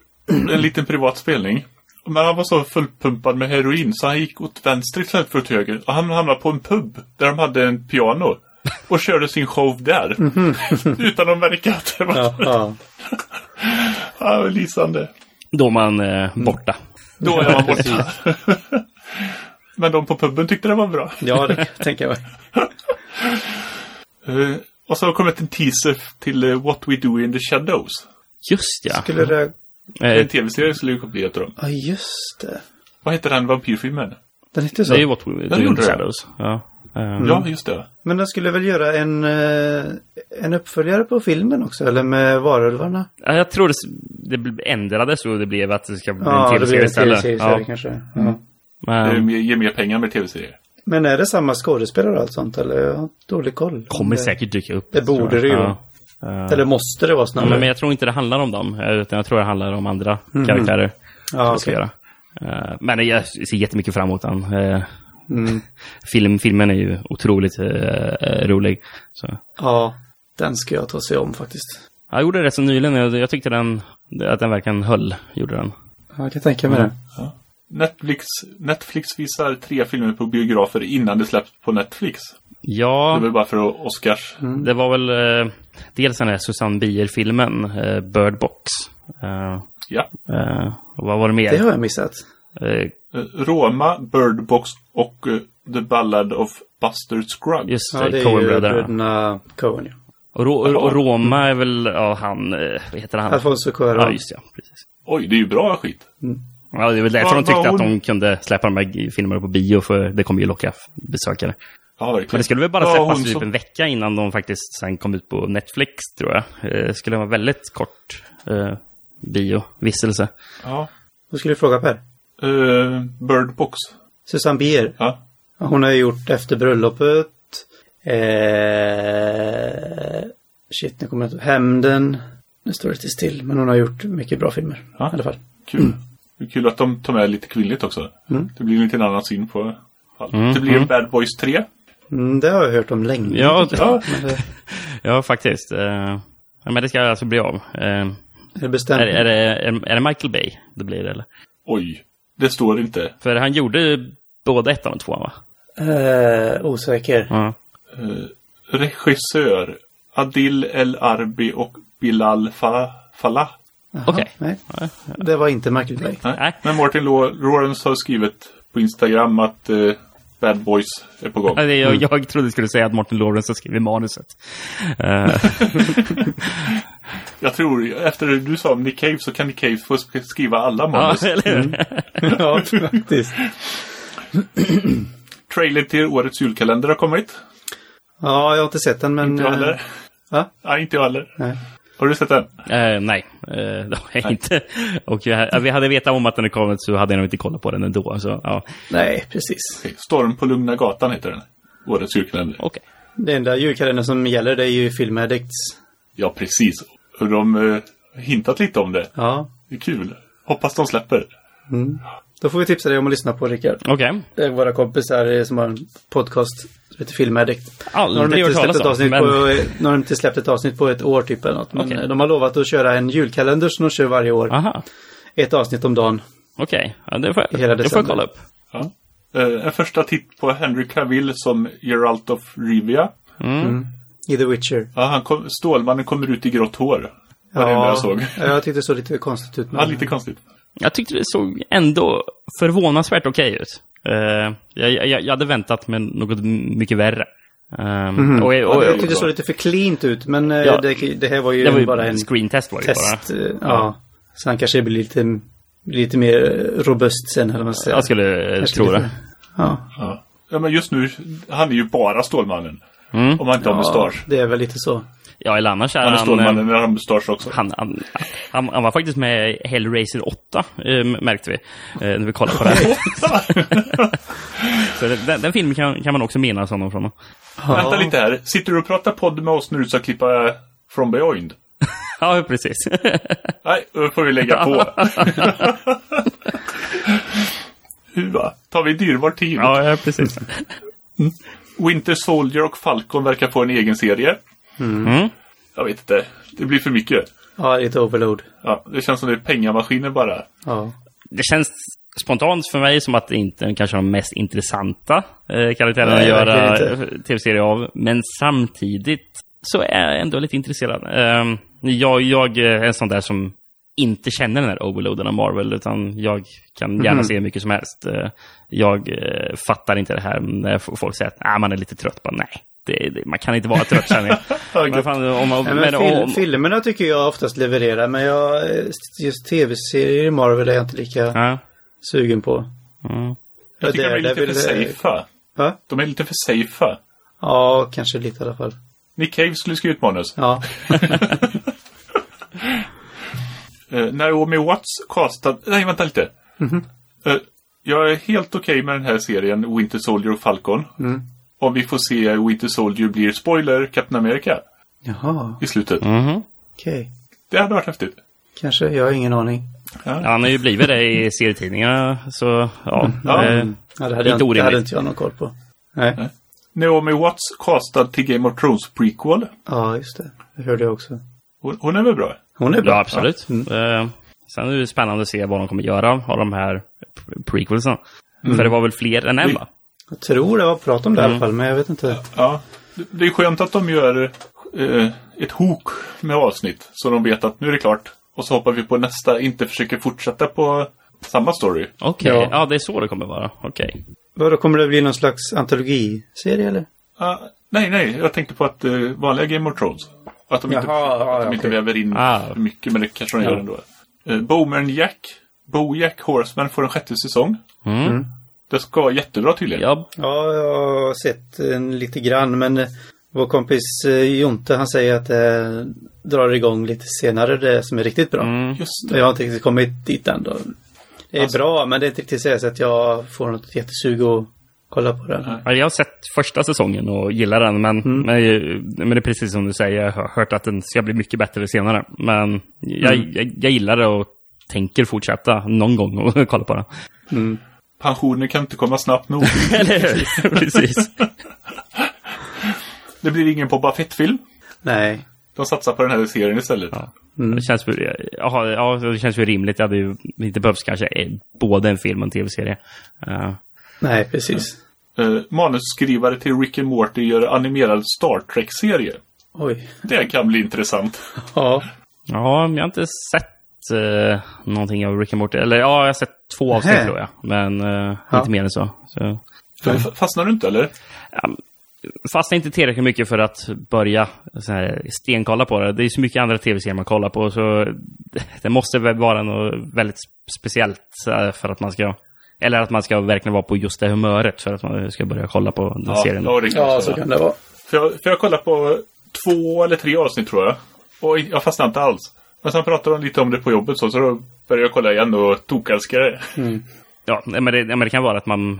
S2: en liten privat spelning. Men han var så fullpumpad med heroin så han gick åt vänster istället för åt höger. Och han hamnade på en pub där de hade en piano. Och körde sin show där. Utan att märka att det var
S3: Ja, ja.
S2: ja. lysande.
S4: Då är man eh,
S3: Mm.
S4: borta.
S2: Då är man borta. Men de på puben tyckte det var bra.
S3: ja, det tänker jag.
S2: Eh, och så har det kommit en teaser till eh, What We Do In The Shadows.
S4: Just ja.
S3: Skulle det...
S2: En
S4: Eh,
S2: tv-serie skulle ju bli ett av dem.
S3: Ja, just det.
S2: Vad heter den
S4: Mm.
S2: vampyrfilmen?
S3: Den hette så.
S4: det är ju What We Do in
S2: gjorde
S4: the
S2: det.
S4: Shadows. Ja. Eh,
S2: Ja, just det.
S3: Men den skulle väl göra en, eh, en uppföljare på filmen också, eller med varulvarna?
S4: ja, jag tror det, s- det bl- ändrades och det blev att det ska bli
S3: Ja,
S4: en
S3: det blir
S4: tv-serie
S3: en tv-serie
S4: istället.
S3: istället
S4: Ja. Mm.
S3: kanske. Ja.
S2: Det är
S4: Men
S2: mer- ger mer pengar med tv-serier.
S3: Men är det samma skådespelare och allt sånt, eller? Jag har dålig koll.
S4: kommer
S3: Det-
S4: säkert dyka upp.
S3: Det borde det ju. Eller måste det vara snarare?
S4: Men, men jag tror inte det handlar om dem, eh, utan jag tror det handlar om andra
S3: Mm.
S4: karaktärer.
S3: Ja,
S4: som vi ska göra. Eh, Men jag ser jättemycket fram emot den. Eh,
S3: Mm.
S4: Film, filmen är ju otroligt eh, eh, rolig. Så.
S3: ja, den ska jag ta sig om faktiskt.
S4: Jag gjorde det rätt så nyligen. Jag, jag tyckte den, att den verkligen höll. Gjorde den.
S3: Ja, jag kan tänka
S4: Mm.
S3: mig det.
S2: Netflix, Netflix visar tre filmer på biografer innan det släpps på Netflix. Det är
S4: Ja, Mm.
S2: väl bara för att Oscars.
S4: det var väl eh, dels den här Susanne Bier-filmen, eh, Bird Box. Eh,
S2: Ja.
S4: eh, och vad var det mer?
S3: Det har jag missat.
S4: Eh,
S2: Eh, Roma, Bird Box och eh, The Ballad of Buster Scruggs.
S4: just
S3: Ja, det
S4: det,
S3: är ju
S4: Coen-bröderna.
S3: bröderna Coen. Ja.
S4: Och, Ro- och Roma är väl, ja han, eh, vad heter han?
S3: Alfonso
S4: Ja,
S3: Cuarón.
S4: just det, ja, precis.
S2: Oj, det är ju bra skit.
S4: Ja, det är väl därför
S2: Vad-
S4: de tyckte
S2: vad
S4: att
S2: hon-
S4: de kunde släppa de här filmerna på bio, för det kommer ju locka besökare.
S2: Ja, verkligen.
S4: Men det skulle väl bara
S2: Ja,
S4: släppas
S2: hon
S4: typ
S2: som-
S4: en vecka innan de faktiskt sen kom ut på Netflix, tror jag. Eh, skulle vara väldigt kort eh, biovistelse.
S2: Ja.
S3: Då skulle jag fråga Per.
S2: Eh, Bird Box.
S3: Susanne Bier,
S2: Ja.
S3: hon har ju gjort Efter bröllopet. Eh, shit, nu kommer jag inte Hämnden. Nu står det lite still, men hon har gjort mycket bra filmer.
S2: Ja.
S3: I alla fall.
S2: Kul. Det är kul att de tar med lite kvinnligt också. Det blir en liten annan syn på allt.
S4: Mm.
S2: Det blir Bad Boys 3.
S3: Mm, det har jag hört om länge.
S4: Ja, ja.
S3: Men det,
S4: ja faktiskt. Eh, ja, men det ska alltså bli av. Eh,
S3: är det bestämt?
S4: är, är, det, är, är det Michael Bay det blir, eller?
S2: Oj, det står inte.
S4: För han gjorde både ettan och tvåan, va?
S3: Eh, osäker.
S4: Ja.
S2: Eh, Regissör Adil El Arbi och Bilal Fa- Falah.
S3: Jaha,
S4: Okej.
S3: Nej. Det var inte Michael Bay.
S2: Nej.
S4: Nej.
S2: Men Martin Law- Lawrence har skrivit på Instagram att eh, Bad Boys är på gång.
S4: Ja, det- Alltså, Jag, jag trodde du skulle säga att Martin Lawrence har skrivit manuset. Eh,
S2: Jag tror, efter det du sa om Nick Cave så kan Nick Cave få sk- skriva alla
S4: ja, Mm.
S2: manus.
S4: eller hur?
S3: ja, faktiskt.
S2: Trailern till årets julkalender har kommit.
S3: Ja, jag har inte sett den, men...
S2: Inte jag heller.
S3: Eh, va?
S2: Nej, inte jag heller.
S3: Nej.
S2: Har du sett den?
S4: Eh, nej, eh, det har jag inte. Och jag, eh, vi hade vetat om att den hade kommit så hade jag nog inte kollat på den ändå. Så, ja.
S3: Nej, precis.
S2: Okej, Storm på Lugna Gatan heter den. Årets julkalender.
S4: Okej.
S3: Det enda julkalendern som gäller det är ju Film Addicts.
S2: Ja, precis. Och de eh, hintat lite om det.
S3: Ja.
S2: Det är kul. Hoppas de släpper.
S3: Mm. Då får vi tipsa dig om att lyssna på Rickard.
S4: Okej.
S3: Det är våra kompisar eh, som har en podcast som heter Film Addict. Nu har de
S4: Aldrig
S3: inte
S4: hört
S3: släppt
S4: talas
S3: ett
S4: om.
S3: avsnitt
S4: Men,
S3: på, nu har de inte släppt ett avsnitt på ett år typ eller något. Men
S4: Okej.
S3: eh, de har lovat att köra en julkalender som de kör varje år.
S4: Aha,
S3: Ett avsnitt om dagen.
S4: okej. Ja, det får
S3: Hela
S4: jag, det får
S3: december.
S4: jag kolla upp.
S2: Ja. Eh, en första titt på Henry Cavill som Geralt of Rivia.
S3: I The Witcher.
S2: Ja, han kom, Stålmannen kommer ut i grått hår. Var det enda jag såg.
S3: ja, Mm. jag tyckte det såg lite konstigt ut. men-
S2: Ja, lite konstigt.
S4: Jag tyckte det såg ändå förvånansvärt okej ut. Eh, jag, jag, jag hade väntat mig något m- mycket värre. Eh, och, och,
S3: Mhm. Ja,
S4: och,
S3: jag tyckte det såg lite för cleant ut, men eh,
S4: Ja.
S3: det, det här var ju,
S4: det var ju
S3: bara en
S4: screentest var det ju bara.
S3: test. eh, Ja. Så han kanske blir lite, lite mer eh, robust sen, eller vad man ska säga.
S4: Jag skulle eh,
S3: Kanske
S4: tro
S3: lite-
S4: det.
S3: Ja,
S2: Ja. ja, men just nu, han är ju bara Stålmannen. Om han inte har
S3: Mm. ja
S2: mustasch.
S3: det är väl lite så.
S4: Ja, eller annars är
S2: Han är
S4: han... eh,
S2: Stålmannen, men han har mustasch också.
S4: Han, han, han, han var faktiskt med i Hellraiser 8, eh, märkte vi. Eh, när vi kollade på den. Så den- den, den filmen kan, kan man också minnas honom från.
S2: Vänta lite här. Sitter du och pratar podd med oss när du ska klippa From Beyond?
S4: Ja, precis.
S2: Nej, då får vi lägga på. Hua. Tar vi dyrbar tid?
S4: ja, ja, precis.
S2: Winter Soldier och Falcon verkar få en egen serie.
S4: Mm.
S2: Jag vet inte. Det blir för mycket.
S3: Ja, lite overload.
S2: Ja, det känns som det är pengamaskiner bara.
S3: Ja.
S4: Det känns spontant för mig som att det inte är kanske de mest intressanta eh, karaktärerna
S3: Nej,
S4: att göra
S3: verkligen
S4: tv-serie av. Men samtidigt så är jag ändå lite intresserad. Eh, jag, jag är en sån där som inte känner den här overloaden av Marvel, utan jag kan
S3: Mhm.
S4: gärna se hur mycket som helst. Eh, Jag eh, fattar inte det här när f- folk säger att ah, man är lite trött. Bara, nej, det, det, man kan inte vara trött känner jag. men fan, om, man-
S3: Nej,
S4: men
S3: men fil-
S4: om,
S3: Filmerna tycker jag oftast levererar, men jag, eh, just tv-serier i Marvel är jag inte lika
S4: ja,
S3: sugen på.
S4: mm.
S2: Jag tycker de är lite för
S3: vill,
S2: safea.
S3: va?
S2: De är lite för safea.
S3: Ja, kanske lite i alla fall.
S2: Nick Cave skulle skriva ut manus.
S3: Ja,
S2: Eh, Naomi Watts castad... Nej, vänta lite. Eh, jag är helt okej med den här serien Winter Soldier och Falcon. Om vi får se Winter Soldier blir spoiler Captain America
S3: jaha,
S2: i slutet.
S4: Mhm.
S3: okej.
S2: Det hade varit häftigt.
S3: Kanske, jag har ingen aning.
S4: Ja, Han har ju blivit det i serietidningarna, så ja.
S2: Ja.
S4: Eh,
S3: Ja, det,
S4: Lite
S3: hade jag, det
S4: orimligt.
S3: hade inte jag någon koll på. Nej.
S2: Naomi Watts castad till Game of Thrones prequel.
S3: Ja, just det. Det hörde jag också.
S2: Hon, hon är väl bra?
S3: Hon är bra. Mm.
S4: Ja, absolut. Eh, sen är det spännande att se vad de kommer göra av de här pre- prequelsen. För det var väl fler än en, va?
S3: Jag tror det var prat om det i alla fall, men jag vet inte.
S2: Ja. Det- Det är skönt att de gör eh, ett hok med avsnitt. Så de vet att nu är det klart. Och så hoppar vi på nästa. Inte försöker fortsätta på samma story.
S4: Okej,
S3: Ja.
S4: ja. det är så det kommer vara. Okej.
S3: Vadå, kommer det bli någon slags antologiserie eller?
S2: Ah, nej, nej. Jag tänkte på att eh, vanliga Game of Thrones. Att de inte,
S3: Jaha, ja,
S2: att de
S3: ja,
S2: inte
S3: okej.
S2: väver in
S4: Ah.
S2: för mycket. Men det kanske de gör ändå. Eh, Bowman Jack. Bojack Horseman får en sjätte säsong.
S4: Mm.
S2: Det ska vara jättebra tydligen.
S4: Ja,
S3: Ja, jag har sett en lite grann, men eh, vår kompis eh, Jonte, han säger att det drar igång lite senare, det som är riktigt bra.
S2: Just det.
S3: Jag har inte riktigt kommit dit än då. Det är bra, men det är inte riktigt så att jag får något jättesug att kolla på den.
S4: Ja, jag har sett första säsongen och gillar den, men, men, men det är precis som du säger. Jag har hört att den ska bli mycket bättre senare. Men jag, jag, jag gillar det och tänker fortsätta någon gång och kolla på den.
S2: Pensioner kan inte komma snabbt nog.
S4: Eller hur? precis.
S2: det blir ingen Boba Fett-film.
S3: Nej.
S2: De satsar på den här serien istället.
S4: Det, känns, väl- jaha, ja, det känns ju rimligt. Det hade ju inte behövts kanske eh, både en film och en tv-serie. Eh, Ja.
S3: Nej, precis.
S2: Eh, manusskrivare till Rick and Morty gör animerad Star Trek-serie.
S3: Oj.
S2: Det kan bli intressant.
S3: Ja.
S4: ja, men jag har inte sett eh, någonting av Rick and Morty. Eller ja, jag har sett två avsnitt
S3: Nähä.
S4: tror jag. Men eh,
S3: Ja.
S4: inte mer än så. så.
S2: F- Fastnar du inte eller?
S4: Fast inte tillräckligt mycket för att börja så här, stenkolla på det. Det är så mycket andra tv-serier man kollar på. Så det måste väl vara något väldigt speciellt eh, för att man ska... Eller att man ska verkligen vara på just det humöret för att man ska börja kolla på den serien.
S2: ja, det kan jag
S3: Ja, så
S2: säga.
S3: kan det vara.
S2: För jag, för jag kollade på två eller tre avsnitt tror jag. Och jag fastnade inte alls. Men sen pratade de lite om det på jobbet så, så då började jag kolla igen och tokälskade det.
S4: Ja, men det, ja, men det kan vara att man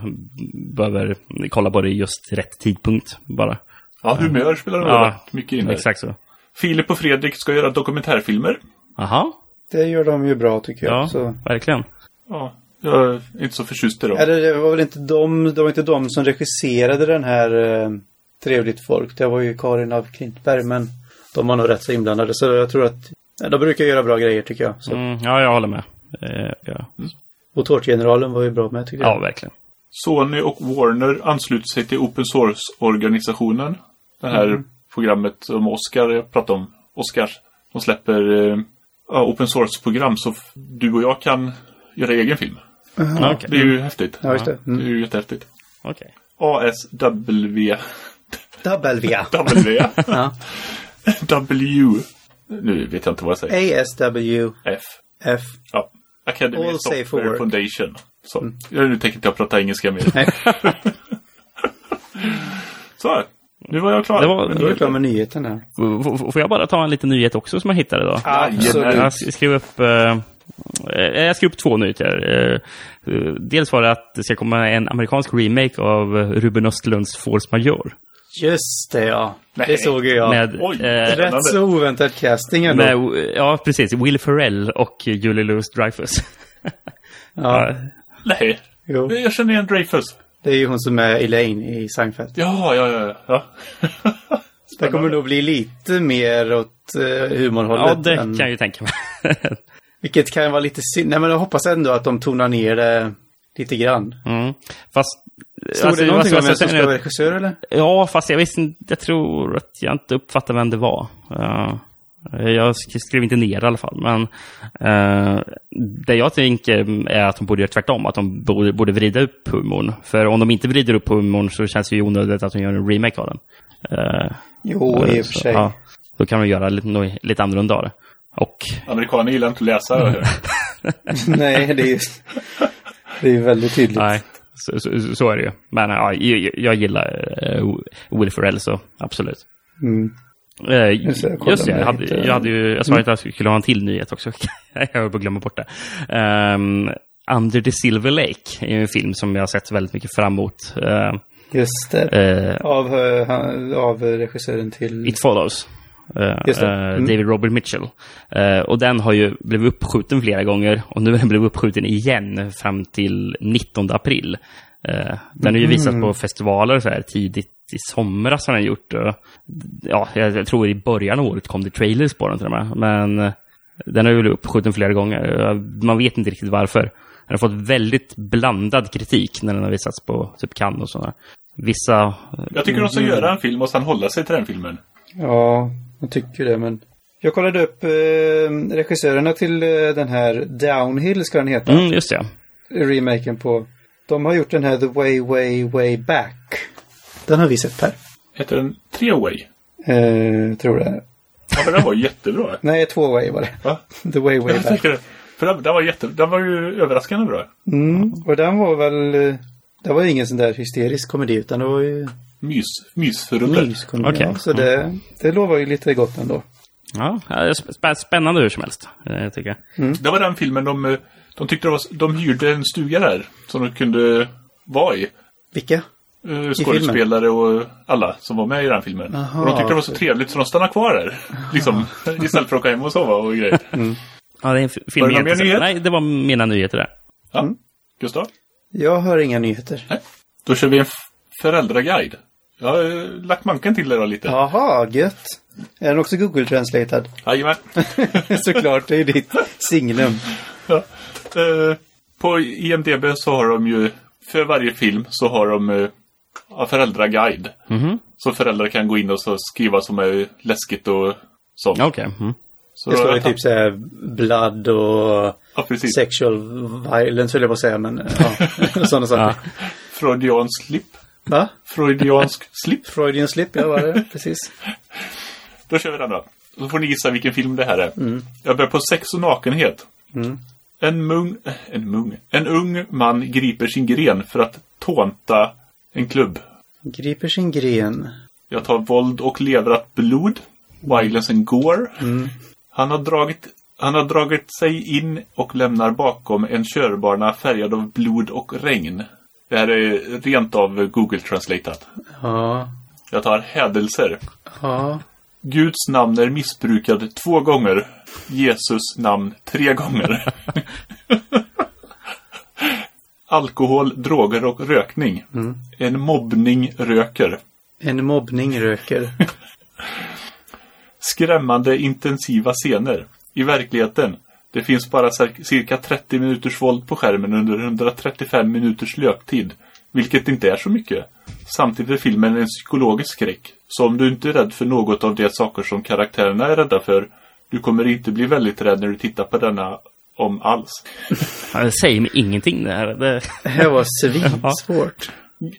S4: behöver kolla på det i just rätt tidpunkt bara.
S2: Ja, humör spelar det
S4: Ja,
S2: väldigt mycket in. här.
S4: Exakt så.
S2: Filip och Fredrik ska göra dokumentärfilmer.
S4: Aha,
S3: Det gör de ju bra tycker jag.
S4: ja,
S3: Så.
S4: verkligen.
S2: Ja, jag är inte så förtjust i dem.
S3: Eller det var väl inte de, det var inte de som regisserade den här eh, Trevligt folk. Det var ju Karin af Klintberg men de var nog rätt så inblandade. Så jag tror att ja, de brukar göra bra grejer tycker jag. Så.
S4: Mm, ja, jag håller med. Eh, ja.
S3: Och Tårtgeneralen var ju bra med tycker jag.
S4: ja, verkligen.
S2: Sony och Warner ansluter sig till open source-organisationen. Det här
S3: Mhm.
S2: programmet som Oscar jag pratade om. Oscar. De släpper eh, ja, open source-program så f- du och jag kan göra egen film.
S4: Ja, Okej.
S2: Det är ju häftigt.
S3: Ja, just det.
S2: Det är
S3: Mm.
S2: ju jättehäftigt.
S4: Okej.
S2: ASW.
S3: W.
S2: W.
S3: Ja.
S2: W. Nu vet jag inte vad jag säger.
S3: ASWF.
S2: F. Ja. Academy
S3: All safe for
S2: Software
S3: work. Mm.
S2: Foundation. Så. Ja, Nu tänker inte jag prata engelska mer.
S3: Nej,
S2: Så. Nu var jag klar.
S4: Det var-
S3: nu är vi klara med nyheten här.
S4: F- f- Får jag bara ta en liten nyhet också som jag hittade idag?
S2: Jajamän.
S4: Jag sk- skrev upp, eh, eh, jag skrev upp två nyheter. Eh, eh, dels var det att det ska komma en amerikansk remake av eh, Ruben Östlunds Force Majeure.
S3: Just det ja.
S2: Nej.
S3: Det såg ju jag.
S4: Med,
S2: Oj.
S4: eh,
S2: Spännande.
S3: Rätt så oväntad casting ändå.
S4: med, ja, precis. Will Ferrell och Julie Louis-Dreyfus.
S3: ja,
S2: Nej.
S3: jo.
S2: Jag känner igen Dreyfus.
S3: Det är ju hon som är Elaine i Seinfeld.
S2: Ja, ja, ja. ja.
S3: Det kommer nog bli lite mer åt uh, humorhållet.
S4: Ja, det
S3: än-
S4: kan jag ju tänka mig.
S3: Vilket kan vara lite synd. Nej, men jag hoppas ändå att de tonar ner det lite grann.
S4: Mm. Fast...
S3: Stod
S4: alltså,
S3: det någonting
S4: vad
S3: om
S4: ska
S3: vem
S4: jag
S3: som
S4: säga
S3: ska
S4: nu?
S3: vara regissör eller?
S4: Ja, fast jag visste inte, jag tror att jag inte uppfattade vem det var. Ja. jag sk- skrev inte ner i alla fall, men eh, det jag tänker är att de borde göra tvärtom, att de borde, borde vrida upp humorn. För om de inte vrider upp humorn så känns det ju onödigt att de gör en remake av den. Eh,
S3: Jo, i och för
S4: så,
S3: sig.
S4: ja. då kan de göra lite, nå- lite annorlunda av det. Och
S2: Amerikaner gillar inte att läsa. hör jag.
S3: Nej, det är ju det är ju väldigt tydligt.
S4: Nej, så, så, så är det ju. Men ja, jag, jag gillar uh, Will Ferrell så absolut.
S3: Mm.
S4: Eh,
S3: Just det, jag kollar
S4: just det,
S3: om
S4: jag,
S3: jag
S4: hade,
S3: hittar- Mm.
S4: jag, hade ju, jag sa att jag skulle ha en till nyhet också. jag höll på att glömma bort det. Ehm, Under the Silver Lake är ju en film som jag har sett väldigt mycket fram emot. Eh,
S3: Just det.
S4: eh,
S3: Av, eh, han- av eh, regissören till...
S4: It Follows. Eh,
S3: Just det.
S4: eh,
S3: Mm.
S4: David Robert Mitchell. Eh, och den har ju blivit uppskjuten flera gånger och nu har den blivit uppskjuten igen fram till 19 april. Eh, den har
S3: Mm.
S4: ju visats på festivaler så här tidigt i somras har den gjort. Och, ja, jag jag tror i början av året kom det trailers på den till och med. Men eh, den har ju blivit uppskjuten flera gånger. Eh, Man vet inte riktigt varför. Den har fått väldigt blandad kritik när den har visats på typ Cannes och sådana. Vissa... eh,
S2: Jag tycker de ska göra en film och sen hålla sig till den filmen.
S3: Ja, jag tycker det, men... Jag kollade upp eh, regissörerna till eh, den här Downhill, ska den heta.
S4: Mm, just det.
S3: remaken på. De har gjort den här The Way Way Way Back. Den har vi sett Per.
S2: Heter den Three Way?
S3: Eh, tror det.
S2: Ja, för den var jättebra.
S3: Nej, två way var det.
S2: Va?
S3: The Way Way
S2: Jag
S3: Back.
S2: tycker det. För den, den, var jätte, den var ju överraskande bra.
S3: Mm. Och den var väl... eh, Det var ingen sån där hysterisk komedi utan det var ju
S2: Mys, mysförullet.
S3: myskomedi.
S4: Okej.
S3: Ja, så det, det lovar ju lite gott ändå.
S4: Ja, det är sp- spännande hur som helst, eh, tycker jag.
S2: Det var den filmen de, eh, de tyckte det var, s- de hyrde en stuga där som de kunde vara i.
S3: Vilka?
S2: Eh, Skådespelare och alla som var med i den filmen.
S3: Aha.
S2: och de tyckte det var så trevligt så de stannade kvar där. Liksom, istället för att åka hem och sova och grejer.
S4: Ja, det är en f- film
S2: Var det
S4: jag
S2: någon
S4: inte
S2: mer nyhet?
S4: sett. Nej, det var mina nyheter där.
S2: Ja. Gustav?
S3: Jag hör inga nyheter.
S2: Nej. Då kör vi en f- föräldraguide. Jag har eh, lagt manken till det då lite.
S3: Jaha, gött. Är den också Google Translated?
S2: Jajamän.
S3: Såklart, det är ju ditt signum.
S2: Ja. Eh, På IMDB så har de ju, för varje film så har de eh, ja, föräldraguide. Så föräldrar kan gå in och så skriva som är läskigt och sånt.
S4: Okej. Mm.
S2: Så
S3: Det står ju
S2: jag tapp-
S3: typ såhär blood och
S2: Ja,
S4: Typ.
S2: precis.
S3: sexual violence höll jag på att säga, men eh, ja, sådana
S4: Ja.
S3: saker.
S2: Freudiansk slip.
S3: Va?
S2: Freudiansk slip.
S3: Freudian slip, ja var det, precis.
S2: Då kör vi den då. Så får ni gissa vilken film det här är. Jag börjar på sex och nakenhet. En, mung, en, mung, en ung man griper sin gren för att tånta en klubb.
S3: Griper sin gren.
S2: Jag tar våld och leverat blod. Violence and gore. Han, har dragit, han har dragit sig in och lämnar bakom en körbana färgad av blod och regn. Det här är rent av Google Translatat.
S3: Ja.
S2: Jag tar hädelser.
S3: Ja.
S2: Guds namn är missbrukad två gånger. Jesus namn tre gånger. Alkohol, droger och rökning. En mobbning röker.
S3: En mobbning röker.
S2: Skrämmande intensiva scener. I verkligheten. Det finns bara cir- cirka 30 minuters våld på skärmen under 135 minuters löptid. Vilket inte är så mycket. Samtidigt är filmen en psykologisk skräck. Så om du inte är rädd för något av de saker som karaktärerna är rädda för. Du kommer inte bli väldigt rädd när du tittar på denna om alls.
S4: Ja, Det säger mig ingenting det här. Det...
S3: Det här var svinsvårt.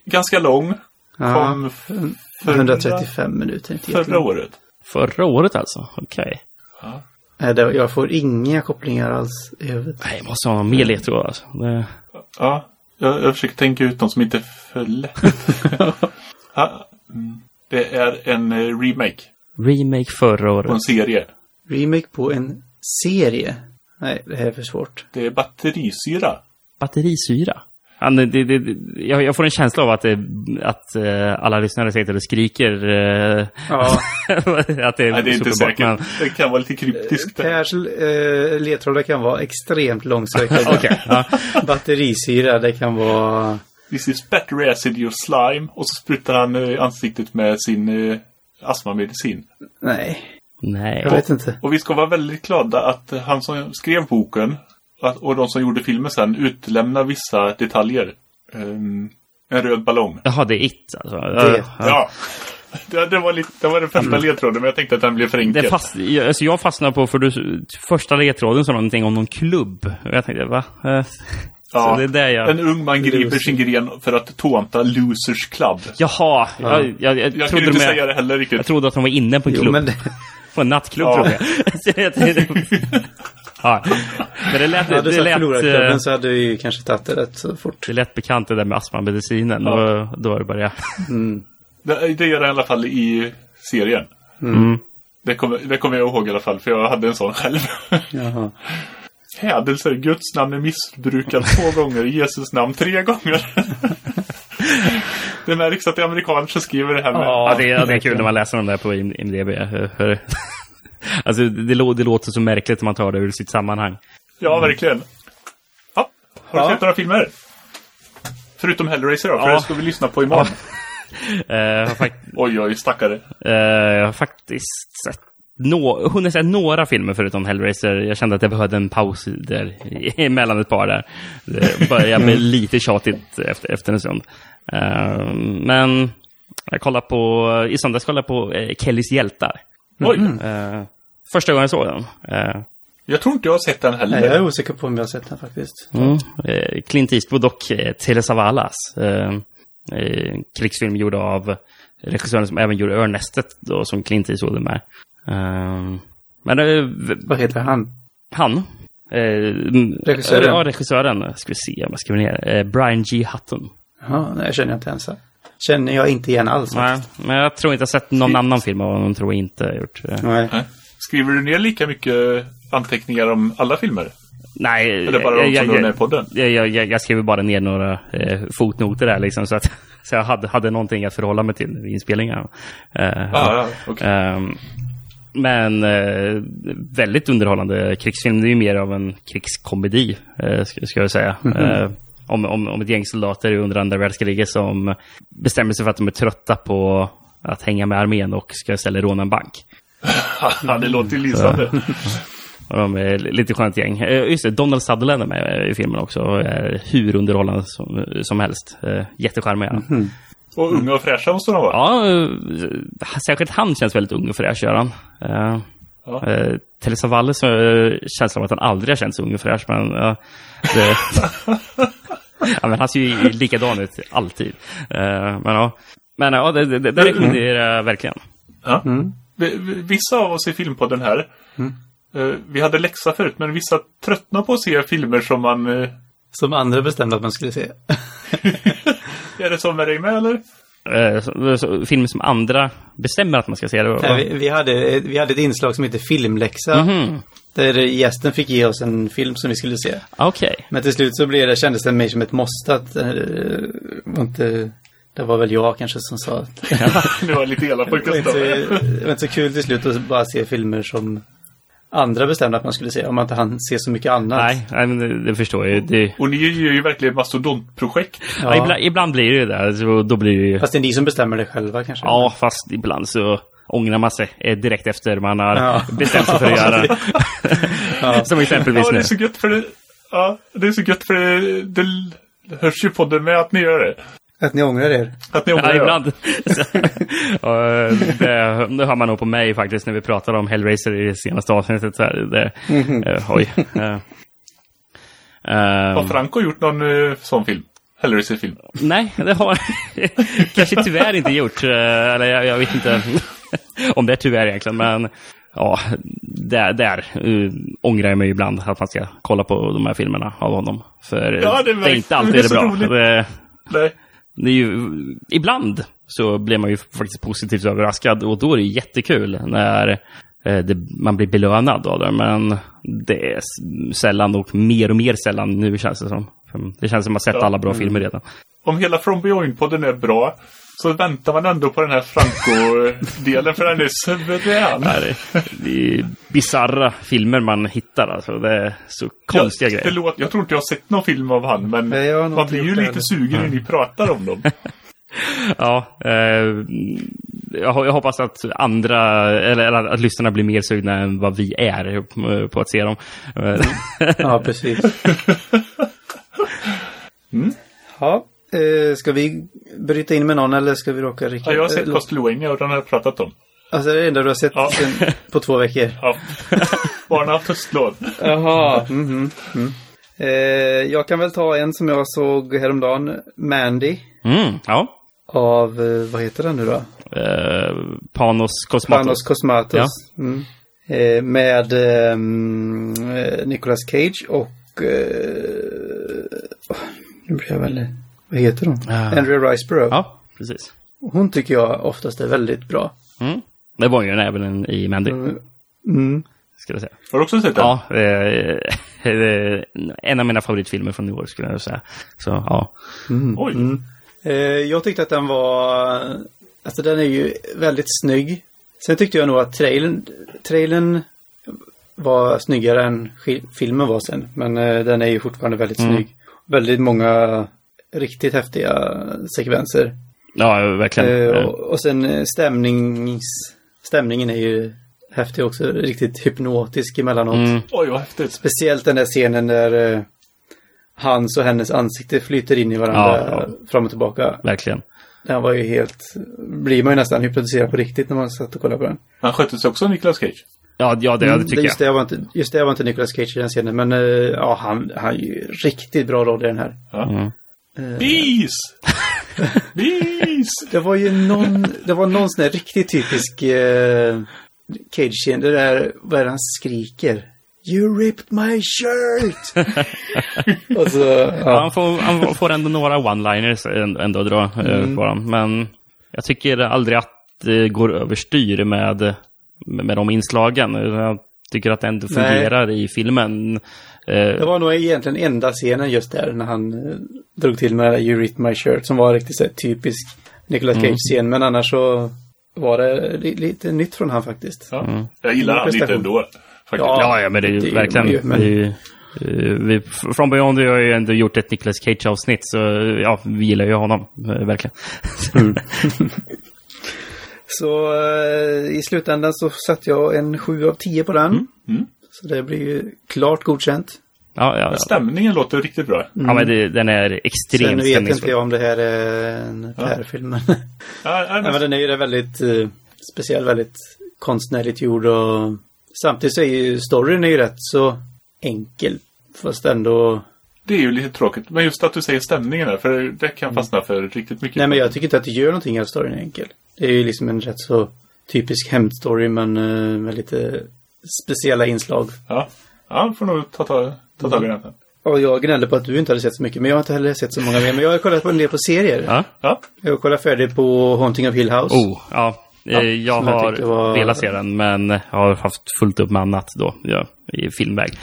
S2: Ganska lång.
S3: Ja.
S2: Kom f- förra-
S3: 135 minuter. Inte
S2: förra
S3: jättelångt.
S2: året.
S4: Förra året alltså? Okej.
S3: Nej, det- Jag får inga kopplingar alls i huvudet.
S4: Nej, jag måste ha någon mer ledtråd alltså. Det...
S2: Ja, jag, jag försöker tänka ut något som inte är för lätt. ja, mm. det är en eh, remake
S4: Remake förra året.
S2: på en serie.
S3: Remake på en serie. Nej, det här är för svårt.
S2: Det är batterisyra.
S4: Batterisyra. Ja, nej, det, det, det- jag, jag får en känsla av att, det, att eh, alla lyssnare sitter och skriker. eh,
S3: Ja,
S4: att det är,
S2: Nej, det är inte
S4: superbart,
S2: säkert.
S4: men-
S2: Det kan vara lite kryptiskt. där.
S3: Pers eh, ledtrådar kan vara extremt långsökta.
S4: Okej, ja.
S3: Batterisyra, det kan vara...
S2: This is battery acid och slime. Och så sprutar han eh, ansiktet med sin eh, astmamedicin.
S3: Nej,
S4: Nej.
S3: jag vet inte.
S2: Och vi ska vara väldigt glada att eh, han som skrev boken att, och de som gjorde filmen sen utelämnar vissa detaljer. Ehm, en röd ballong.
S4: Jaha, det är it alltså.
S3: Det-
S4: ja. Mm.
S2: Ja. Det, det, var lite, det var den första ledtråden, men jag tänkte att den blev för enkel.
S4: Det fast, jag, alltså jag fastnade på, för du, första ledtråden sa någonting om någon klubb. Och jag tänkte, va? Eh,
S2: Ja.
S4: Så det är där jag...
S2: En ung man griper sin gren för att tånta Losers Club.
S4: Jaha, jag, jag, jag,
S2: Jag kunde
S4: trodde
S2: inte
S4: med,
S2: säga det heller
S4: jag
S2: riktigt.
S4: trodde att de var inne på en klubb.
S3: Jo, men det,
S4: På en nattklubb
S2: Ja.
S4: trodde jag. Så jag. tänkte- ja. Men det lät,
S3: hade
S4: det,
S3: du sagt
S4: lät, eh,
S3: förlorarklubben så hade du ju kanske tagit det rätt så fort.
S4: det lät bekant det där med astmamedicinen.
S2: Ja.
S4: Då, då var det bara jag.
S2: Det, det gör det i alla fall i serien.
S4: Mm.
S2: Det kommer, det kommer jag ihåg i alla fall, för jag hade en sån själv.
S3: Jaha.
S2: Hädelser, Guds namn är missbrukad två gånger, Jesus namn tre gånger. det märks att det är amerikaner som skriver det här med.
S4: Ja, det, är- ja, det är kul när man läser dem där på IM- IMDB. Hur- Alltså, det, lå- det låter så märkligt om man tar det ur sitt sammanhang.
S2: Ja, verkligen. Ja, har du
S3: Ja.
S2: sett några filmer? Förutom Hellraiser då, för
S4: Ja.
S2: det ska vi lyssna på imorgon.
S4: Eh, jag, har fakt-
S2: Oj, oj, stackare.
S4: eh, jag har faktiskt sett nå- hunnit se några filmer förutom Hellraiser. Jag kände att jag behövde en paus där emellan ett par där. Det började bli lite tjatigt efter, efter en stund. Eh, men jag kollade på, i söndags kollade jag på eh, Kellys hjältar.
S2: Oj,
S4: Eh, första gången jag såg den. Eh,
S2: jag tror inte jag har sett den heller.
S3: Nej, jag är osäker på om jag har sett den faktiskt.
S4: Mm. Eh, Clint Eastwood och eh, Tele Savalas. Eh, eh, krigsfilm gjord av regissören som även gjorde Örnästet då, som Clint Eastwood är med. Eh, men eh, v-
S3: Vad heter han?
S4: han. Eh, mm,
S3: Regissören.
S4: Ja, regissören. Ska vi se om jag skriver ner. Eh, Brian G. Hutton.
S3: Jaha, nej, jag känner inte ens. Känner jag inte igen alls.
S4: Nej, men jag tror inte jag sett någon annan film av honom, tror jag inte jag gjort. Eh,
S3: Nej.
S2: Nej. Skriver du ner lika mycket anteckningar om alla filmer?
S4: Nej,
S2: Eller bara de som du har med i podden?
S4: Jag, jag, jag, jag skrev ju bara ner några eh, fotnoter där liksom, så att så jag hade, hade någonting att förhålla mig till vid inspelningarna. Eh,
S2: Ja, ja, Ah, okej.
S4: ehm, men eh, väldigt underhållande krigsfilm. Det är ju mer av en krigskomedi, eh, ska, ska jag säga. Eh, om, om, om ett gäng soldater under andra världskriget som bestämmer sig för att de är trötta på att hänga med armén och ska istället råna en bank.
S2: Ja, det låter ju lysande.
S4: Och de är li- lite skönt gäng. Eh, Just det, Donald Sutherland är med i filmen också och är hur underhållande som, som helst. Eh, Jättecharmig är han.
S2: Och unga och fräscha måste de vara.
S4: Ja, eh, särskilt han känns väldigt ung och fräsch, gör han. Eh,
S2: Ja.
S4: Eh, Telesa Valle så eh, känns som att han aldrig har känts ung och fräsch, men ja, det... ja, men han ser ju likadan ut alltid. Eh, men ja, men, ja det, det, det,
S3: Mm.
S4: det rekommenderar jag verkligen.
S2: Ja. Vi- vi- Vissa av oss i Filmpodden här, eh, vi hade läxa förut, men vissa tröttnar på att se filmer som man... eh,
S3: Som andra bestämde att man skulle se.
S2: Är det så med dig med, eller?
S4: Eh, så, så, filmer som andra bestämmer att man ska se det.
S3: Nej, vi, vi, hade, vi hade ett inslag som heter Filmläxa.
S4: Mhm.
S3: Där gästen fick ge oss en film som vi skulle se.
S4: Okej.
S3: Men till slut så blev det, kändes det mig som ett måste att... eh, var inte, det var väl jag kanske som sa att
S2: Det var lite elak på
S3: det var, inte,
S2: Gustav.
S3: det var inte så kul till slut att bara se filmer som andra bestämde att man skulle se. Om man inte hann se så mycket annat.
S4: Nej, nej, men det, det förstår jag ju. Det,
S2: Och ni gör ju verkligen mastodontprojekt.
S4: ja.
S3: Ja.
S4: ibland, ibland blir det ju det. Alltså, då blir det ju...
S3: Fast det är ni som bestämmer det själva kanske.
S4: Ja, fast ibland så ångrar man sig eh, direkt efter man har
S3: Ja.
S4: bestämt sig för att göra det. Som exempelvis
S2: Ja, det
S4: nu.
S2: är så gött för det... Ja, det är så gött för det... det hörs ju på det med att ni gör det.
S3: Att ni ångrar er.
S2: Att ni
S4: Ja,
S2: ångrar
S4: ibland. Ja, det, det hör man nog på mig faktiskt när vi pratar om Hellraiser i det senaste avsnittet. Så här, det, eh, oj. Eh, ehm,
S2: Har Franco gjort någon eh, sån film? Hellraiser-film?
S4: nej, det har kanske tyvärr inte gjort. eh, Eller jag, jag vet inte om det är tyvärr egentligen. Men ja, där, där eh, ångrar jag mig ibland att man ska kolla på de här filmerna av honom. För eh,
S2: Ja, det
S4: det, är
S2: märks.
S4: inte
S2: Det
S4: alltid
S2: är
S4: det
S2: så
S4: bra.
S2: roligt.
S4: Det,
S2: Nej.
S4: det är ju, ibland så blir man ju faktiskt positivt överraskad och då är det jättekul när eh, det, man blir belönad av det. Men det är s- sällan och mer och mer sällan nu känns det som. Det känns som att man sett
S2: Ja. Mm.
S4: alla bra filmer redan.
S2: om hela From Beyond-podden är bra så väntar man ändå på den här Franco-delen för den är suverän.
S4: Det är, det är bisarra filmer man hittar alltså. Det är så konstiga
S2: jag,
S4: grejer.
S2: Förlåt, jag tror inte jag har sett någon film av han, men
S3: Nej, jag har nog
S2: man
S3: inte
S2: blir ju
S3: gjort det
S2: lite sugen när ni pratar om dem.
S4: Ja, eh, jag, ho- jag hoppas att andra, eller, eller att lyssnarna blir mer sugna än vad vi är eh, på att se dem. Eh,
S3: Ja, precis. Mm. Ja, eh, ska vi bryta in med någon eller ska vi råka Rickard?
S2: Ja, jag har sett
S3: Eh, låt-
S2: Castlevania och den har jag pratat om.
S3: Alltså det är det enda du har sett
S2: Ja.
S3: sen på två veckor?
S2: Ja. Barnen har haft höstlov.
S3: Jaha. Mm eh, jag kan väl ta en som jag såg häromdagen, Mandy.
S4: Mm, ja.
S3: Av, eh, vad heter den nu då?
S4: eh, Panos Cosmatos.
S3: Panos Cosmatos. Mm. Eh, med eh, mm, eh, Nicolas Cage och... Eh, åh, nu blir jag väl... Vad heter hon?
S4: Ah.
S3: Andrea Riceborough.
S4: Ja, precis.
S3: Hon tycker jag oftast är väldigt bra.
S4: Mm. Det var ju en även i Mandy,
S3: Mm.
S4: skulle jag säga.
S2: Har du också sett den?
S4: Ja, eh, eh, en av mina favoritfilmer från i år skulle jag säga. Så ja,
S2: Oj.
S3: Eh, jag tyckte att den var... Alltså den är ju väldigt snygg. Sen tyckte jag nog att trailern, trailern var snyggare än sk- filmen var sen. Men eh, den är ju fortfarande väldigt snygg. Väldigt många riktigt häftiga sekvenser.
S4: ja verkligen.
S3: Eh,
S4: Eh,
S3: och, och sen eh, stämnings, stämningen är ju häftig också. Riktigt hypnotisk emellanåt.
S4: Mm.
S2: Oj, vad häftigt.
S3: Speciellt den där scenen där eh, hans och hennes ansikte flyter in i varandra
S4: Ja,
S3: fram och tillbaka.
S4: verkligen.
S3: Den var ju helt... Blir man ju nästan hypnotiserad på riktigt när man satt och kollade på den.
S2: Han skötte sig också, Nicolas Cage.
S4: Ja, ja det, ja, det tycker
S3: just, Mm, det, jag var inte, just det, jag var inte Nicolas Cage i den scenen, men eh, ja, han, han är ju riktigt bra roll i den här.
S2: Ja.
S4: Mm.
S3: Eh.
S2: Bis! Bis!
S3: Det var ju någon, det var någon sån här riktigt typisk eh, Cage-scen. Det där, vad är det han skriker? You ripped my shirt! och så,
S4: jag.
S3: ja.
S4: Han får, han får ändå några one-liners änd- ändå att dra eh,
S3: Mm.
S4: på dem. Men jag tycker aldrig att det går överstyr med, med de inslagen. Jag tycker att det ändå fungerar i filmen. Eh,
S3: Det var nog egentligen enda scenen just där när han eh, drog till med det där You ripped my shirt som var riktigt så här, typisk Nicolas Cage-scen. Men annars så var det li- lite nytt från han faktiskt.
S2: Ja. Jag gillar han lite
S3: Prestation.
S2: ändå. Faktiskt.
S3: Ja.
S4: Ja, ja men det är ju
S3: det gör
S4: verkligen...
S3: man ju, men-
S4: det är ju, eh, vi, från Beyond har ju ändå gjort ett Nicolas Cage-avsnitt, så eh, ja, vi gillar ju honom, eh, verkligen.
S3: Mm. Så eh, i slutändan så satte jag en 7 av 10 på den. Så det blir ju klart godkänt.
S4: ja, ja, ja.
S2: Stämningen låter riktigt bra.
S4: ja men det, den är
S3: Sen
S4: extremt
S3: vet inte
S4: stämningsfull.
S3: jag om det här är en PR-film. men-
S2: Ja, ja,
S3: Nej, men
S2: men-
S3: den är ju det väldigt eh, speciell, väldigt konstnärligt gjord och Samtidigt så är ju storyn är ju rätt så enkel. Fast ändå...
S2: Det är ju lite tråkigt. Men just att du säger stämningen där, för det kan fastna för riktigt mycket.
S3: Mm. Nej men jag tycker inte att det gör någonting att storyn är enkel. Det är ju liksom en rätt så typisk hämndstory men eh, med lite speciella inslag.
S2: Ja, ja får nog ta, ta, ta tag i den. sen.
S3: Och jag gnällde på att du inte hade sett så mycket, men jag har inte heller sett så många mer. Men jag har kollat på en del på serier.
S4: Ja.
S2: Ja,
S3: Jag kollar färdigt på Haunting of Hill House.
S4: Oh, ja. Eh, jag
S3: som jag
S4: har
S3: tyckte var-
S4: velat se den, men jag har haft fullt upp med annat då, ja, i filmväg.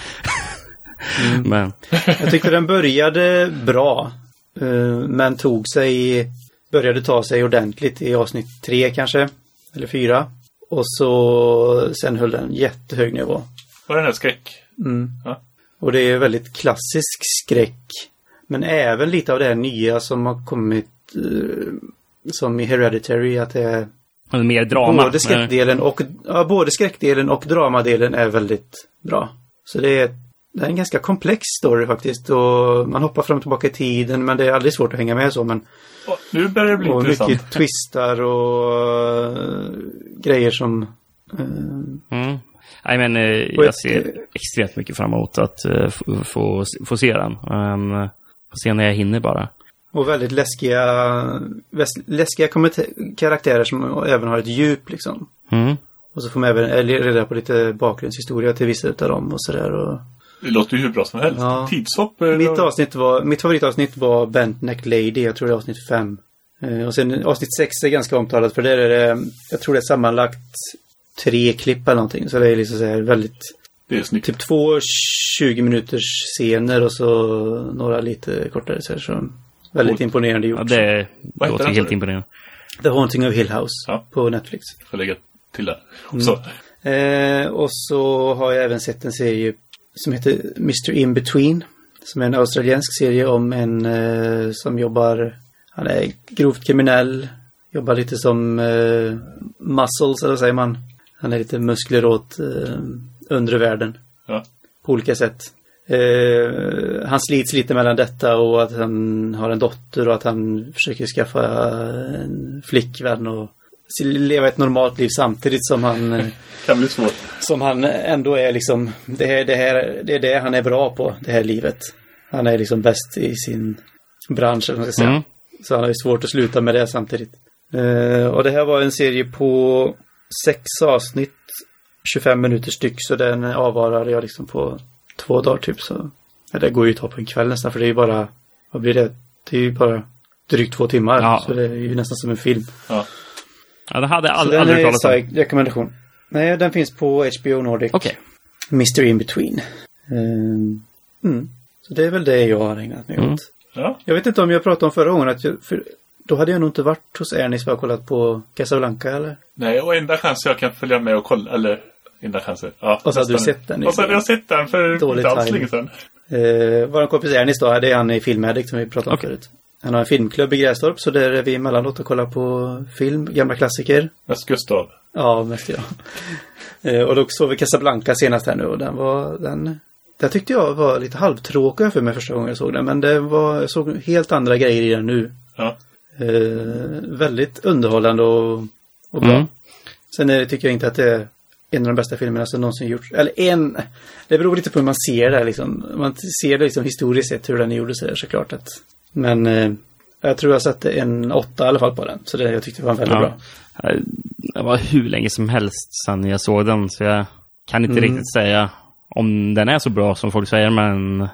S3: Mm.
S4: Men,
S3: Jag tyckte den började bra. eh, Men tog sig, började ta sig ordentligt i avsnitt tre kanske. Eller fyra. Och så sen höll den jättehög nivå. Mm.
S2: var den här skräck?
S3: Och det är väldigt klassisk skräck. Men även lite av det här nya som har kommit. eh, Som i Hereditary att det är
S4: men mer drama.
S3: Både skräckdelen och, ja, både skräckdelen och dramadelen är väldigt bra. Så det är, det är en ganska komplex story faktiskt. Och man hoppar fram och tillbaka i tiden men det är aldrig svårt att hänga med så. Men,
S2: Åh, nu börjar det bli
S3: och
S2: Mm. intressant.
S3: mycket twistar och eh, grejer som... eh,
S4: Mm. Nej, men eh,
S3: Och
S4: jag
S3: ett-
S4: ser extremt mycket fram emot att eh, f- få, få se den. Men, eh, får se när jag hinner bara.
S3: och väldigt läskiga, väs- läskiga kommenta- karaktärer som även har ett djup liksom.
S4: Mm.
S3: Och så får man även eller reda på lite bakgrundshistoria till vissa utav dem och sådär. Och...
S2: Det låter ju hur bra som helst.
S3: Ja.
S2: Tidshopp. eh,
S3: Mitt, avsnitt var, mitt favoritavsnitt var Bent Neck Lady, jag tror det är avsnitt 5. Och sen avsnitt 6 är ganska omtalat för där är det, jag tror det är sammanlagt tre klipp eller någonting. Så det är liksom så här väldigt,
S2: Det är snyggt.
S3: typ två 20 minuters scener och så några lite kortare så här. Så väldigt
S2: Coolt.
S3: imponerande gjort.
S4: Ja, det
S2: Vad heter
S4: låter
S2: den, sa
S4: helt
S2: du?
S4: imponerande.
S3: The Haunting of Hill House
S2: Ja.
S3: på Netflix.
S2: Jag får lägga till det.
S3: Mm.
S2: Så,
S3: Eh, och så har jag även sett en serie som heter Mr. In Between. Som är en australiensk serie om en eh, som jobbar, han är grovt kriminell, jobbar lite som eh, muscles, eller vad säger man? Han är lite muskler åt eh, undre världen
S2: ja.
S3: på olika sätt. Eh, han slits lite mellan detta och att han har en dotter och att han försöker skaffa en flickvän och se- leva ett normalt liv samtidigt som han eh,
S2: kan bli svårt.
S3: som han ändå är liksom, det, här, det, här, det är det han är bra på, det här livet. Han är liksom bäst i sin bransch, eller vad man ska säga.
S4: Mm.
S3: Så han har ju svårt att sluta med det samtidigt. Eh, och det här var en serie på sex avsnitt, 25 minuter styck, så den avvarade jag liksom på två dagar typ. Så. Ja, det går ju att ta på en kväll nästan, för det är ju bara, vad blir det? Det är ju bara drygt två timmar,
S4: Ja.
S3: så det är ju nästan som en film.
S2: Ja.
S4: Ja, det hade jag
S3: Så
S4: ald-
S3: den
S4: aldrig
S3: är
S4: talat om.
S3: stark rekommendation. Nej, den finns på HBO Nordic.
S4: Okej.
S3: Mr. In Between. Ehm, mm. Så det är väl det jag har ägnat mig
S4: Mm.
S3: åt.
S2: Ja.
S3: Jag vet inte om jag pratade om förra gången att jag, för då hade jag nog inte varit hos Ernis för att kollat på Casablanca eller?
S2: Nej, och enda chansen jag kan följa med och kolla, eller enda chansen. Ja,
S3: Och så hade
S2: nästan.
S3: du sett den i-
S2: Och så hade jag sett den för
S3: Dålig
S2: inte alls
S3: timing.
S2: länge sedan.
S3: Eh, Vår kompis Ernis då, det är han i Filmedic som vi pratade om
S4: Okej.
S3: förut. Han har en filmklubb i Grästorp så där är vi emellanåt och kollar på film, gamla klassiker.
S2: Mest Gustav.
S3: Ja, mest jag. Eh, och då såg vi Casablanca senast här nu och den var, den, den tyckte jag var lite halvtråkig för mig första gången jag såg den. Men det var, jag såg helt andra grejer i den nu.
S2: Ja.
S3: Eh, väldigt underhållande och, och bra.
S4: Mm.
S3: Sen är det, tycker jag inte att det är en av de bästa filmerna som någonsin gjorts. Eller en, det beror lite på hur man ser det liksom. Om Man ser det liksom historiskt sett hur den gjordes så är det såklart att. Men eh, jag tror jag satte en åtta i alla fall på den. Så det jag tyckte var väldigt bra.
S4: Ja. Det var hur länge som helst sedan jag såg den, så jag kan
S3: Mm.
S4: inte riktigt säga om den är så bra som folk säger, men... eh,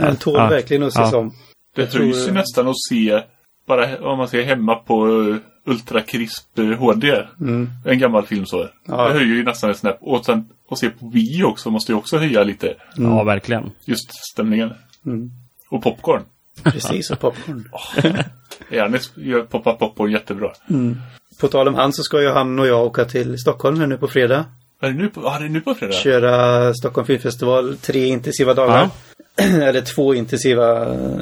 S3: Den tål verkligen att ses
S4: Ja.
S3: om.
S2: Det
S3: Jag tror-
S2: ryser nästan att se, bara om man ser hemma på eh, ultrakrisp eh, HD. En gammal film så.
S3: Mm. Ja.
S2: Det höjer ju nästan ett snäpp. Och sen att se på bio också måste ju också höja lite
S3: Mm.
S4: Ja, verkligen.
S2: just stämningen. Och popcorn.
S3: Precis, och popcorn.
S2: Ernest gör poppa popcorn jättebra.
S3: Mm. På tal om han så ska ju han och jag åka till Stockholm här nu på fredag.
S2: Är det nu på, ah, det är nu på fredag?
S3: Köra Stockholm Filmfestival tre intensiva dagar. Eller två intensiva... eh,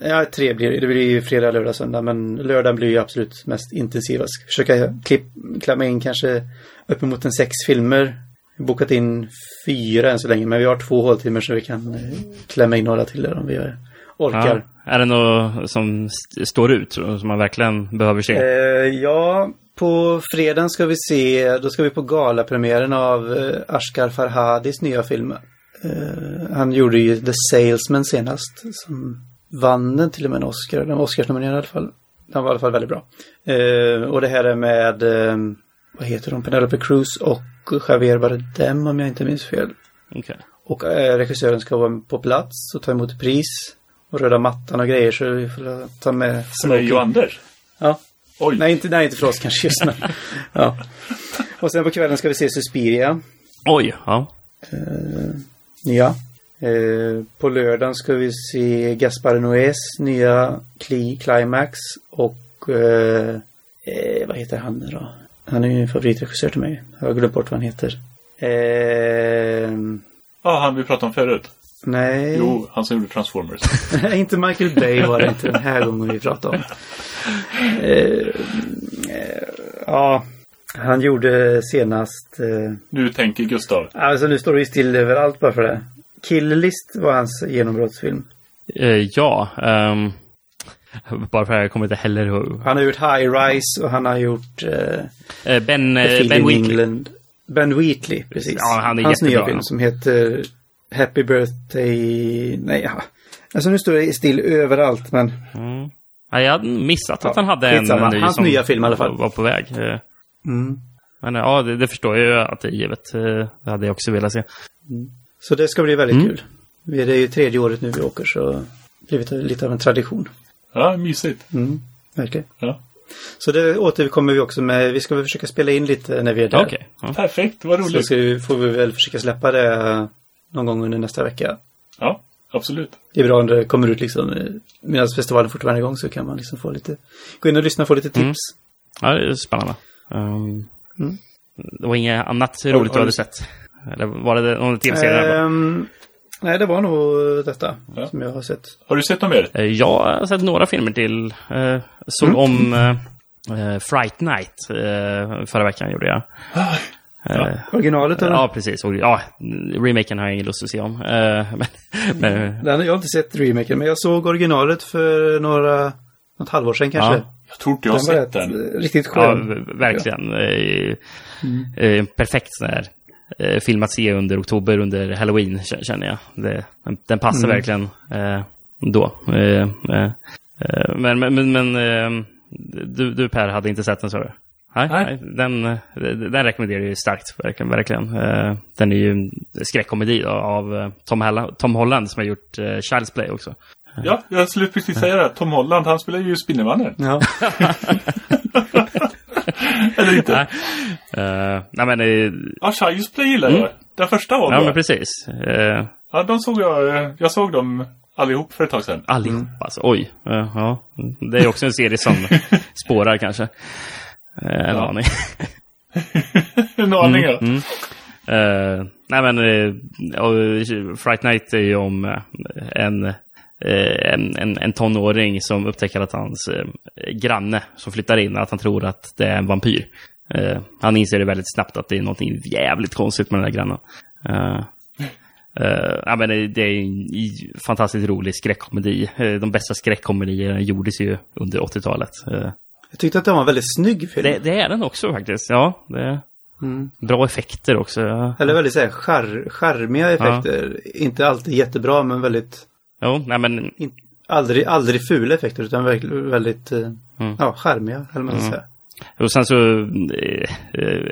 S3: Ja, tre blir det. Det blir ju fredag, lördag, söndag. Men lördagen blir ju absolut mest intensiva. Ska försöka klipp, klämma in kanske uppemot en sex filmer. Bokat in fyra än så länge, men vi har två håltimmar så vi kan eh, klämma in några till där om vi orkar.
S4: Ja. Är det något som st- står ut, som man verkligen behöver se?
S3: Eh, ja, på fredagen ska vi se, då ska vi på galapremiären av eh, Ashkar Farhadis nya film. Eh, han gjorde ju The Salesman senast, som vann den till och med en Oscar. Den var Oscarsnominerad i alla fall. Den var i alla fall väldigt bra. Eh, och det här är med, eh, vad heter de, Penelope Cruz och Javier Bardem om jag inte minns fel.
S4: Okej.
S3: Och eh, regissören ska vara på plats och ta emot pris. Och röda mattan och grejer så vi får ta med...
S2: För dig och Anders?
S3: Ja.
S2: Oj.
S3: Nej, inte, nej, inte för oss kanske just men. ja. Och sen på kvällen ska vi se Suspiria.
S4: Oj, ja.
S3: Nya. Eh, på lördagen ska vi se Gaspar Noés nya Cli- Climax och eh, eh, vad heter han nu då? Han är ju en favoritregissör till mig. Jag har glömt bort vad han heter. Eh,
S2: Ja, han vi pratade om förut.
S3: nej.
S2: Jo, han som gjorde Transformers.
S3: Nej, inte Michael Bay var det inte den här gången vi pratade om. Eh, eh, ja, han gjorde senast... Eh,
S2: Nu tänker Gustav.
S3: alltså nu står det ju still överallt bara för det. Kill List var hans genombrottsfilm.
S4: Eh, ja, ehm, bara för att jag kommer inte heller ihåg.
S3: Han har gjort High Rise och han har gjort eh,
S4: Eh, ben,
S3: A
S4: eh,
S3: Field
S4: ben
S3: in
S4: Weekly.
S3: England. Ben Wheatley, precis.
S4: Ja, han är
S3: hans
S4: jättebra,
S3: nya film
S4: ja.
S3: som heter Happy Birthday... Nej, ja. Alltså nu står det still överallt, men...
S4: Mm. Ja, jag hade missat att
S3: Ja,
S4: han hade en
S3: skitsamma.
S4: ny
S3: Hans
S4: som
S3: nya film i alla fall.
S4: var på väg. Eh,
S3: Mm.
S4: Men eh, ja, det, det förstår jag ju att det är givet. Eh, Det hade jag också velat se.
S3: Så det ska bli väldigt
S4: Mm.
S3: kul. Vi- Det är ju tredje året nu vi åker så det har blivit lite av en tradition.
S2: Ja, mysigt.
S3: Mm, verkligen.
S2: Ja.
S3: Så det återkommer vi också med. Vi ska väl försöka spela in lite när vi är där.
S4: Ja, Okej. Ja.
S2: Perfekt, vad
S3: Så
S2: roligt.
S3: ska vi, får vi väl försöka släppa det någon gång under nästa vecka.
S2: Ja, absolut.
S3: Det är bra om det kommer ut liksom medan festivalen fortfarande är igång så kan man liksom få lite gå in och lyssna och få lite tips.
S4: Mm. Ja, det är spännande. Ehm,
S3: Mm.
S4: Det var inget annat
S3: har
S4: roligt du
S3: du-
S4: hade sett? Eller var det någon tv-serie? där bara?
S3: Ehm, nej, det var nog detta
S2: Ja.
S3: som jag har sett.
S2: Har du sett något mer?
S4: Eh, Jag har sett några filmer till. Eh, Såg om eh, eh, Fright Night eh, förra veckan gjorde jag. Eh,
S3: Originalet eller?
S4: Ja, precis. Och, ja, remaken har jag ingen lust att se om. Eh, Men, men
S3: Den, jag har inte sett remaken men jag såg originalet för några, något halvår sedan kanske.
S4: Ja.
S2: Jag tror inte jag har
S3: var
S2: sett
S3: rätt,
S2: den.
S3: eh, riktigt
S4: ja,
S3: skön.
S4: v- verkligen. Eh, eh, Perfekt sån här eh, film att se under oktober, under halloween, k- känner jag. Det, den- den passar verkligen eh, då. Eh, eh, eh, Men, men, men, men eh, du, du Per hade inte sett den, sa du? Nej,
S2: Nej.
S4: nej, den, eh, den rekommenderar jag ju starkt, verkligen. verkligen. Eh, Den är ju en skräckkomedi då av eh, Tom, Halla- Tom Holland som har gjort eh, Child's Play också.
S2: Ja, jag skulle precis säga det. här. Tom Holland, han spelar ju Spindelmannen.
S3: Ja.
S2: Eller inte?
S4: Nej. Eh, nej men, eh,
S2: Ja, Child's Play gillar jag. Den första var
S4: ja,
S2: bra.
S4: men precis. Eh,
S2: Ja, de såg jag. eh, Jag såg dem allihop för ett tag sedan.
S4: allihop alltså. Oj. Eh, ja. Det är också en serie som spårar kanske. Uh, en
S2: Ja.
S4: aning.
S2: en aning, ja.
S4: Mm. Eh, nej men, eh, och Fright Night är ju om eh, en, eh, en, en, en tonåring som upptäcker att hans eh, granne som flyttar in, att han tror att det är en vampyr. Eh, han inser det väldigt snabbt att det är någonting jävligt konstigt med den där grannen. Eh, eh, ja, men det, det är en i- fantastiskt rolig skräckkomedi. Eh, de bästa skräckkomedierna gjordes ju under 80-talet. Eh,
S3: Jag tyckte att den var en väldigt snygg film.
S4: det, det är den också faktiskt. Ja, det är
S3: Mm.
S4: bra effekter också. Ja.
S3: Eller väldigt så här, char, charmiga effekter. Inte alltid jättebra men väldigt,
S4: Jo, nej men
S3: in, aldrig, aldrig fula effekter utan verkl- väldigt, eh,
S4: Mm.
S3: ja, charmiga. Eller vad man ska säga.
S4: Och sen så, eh,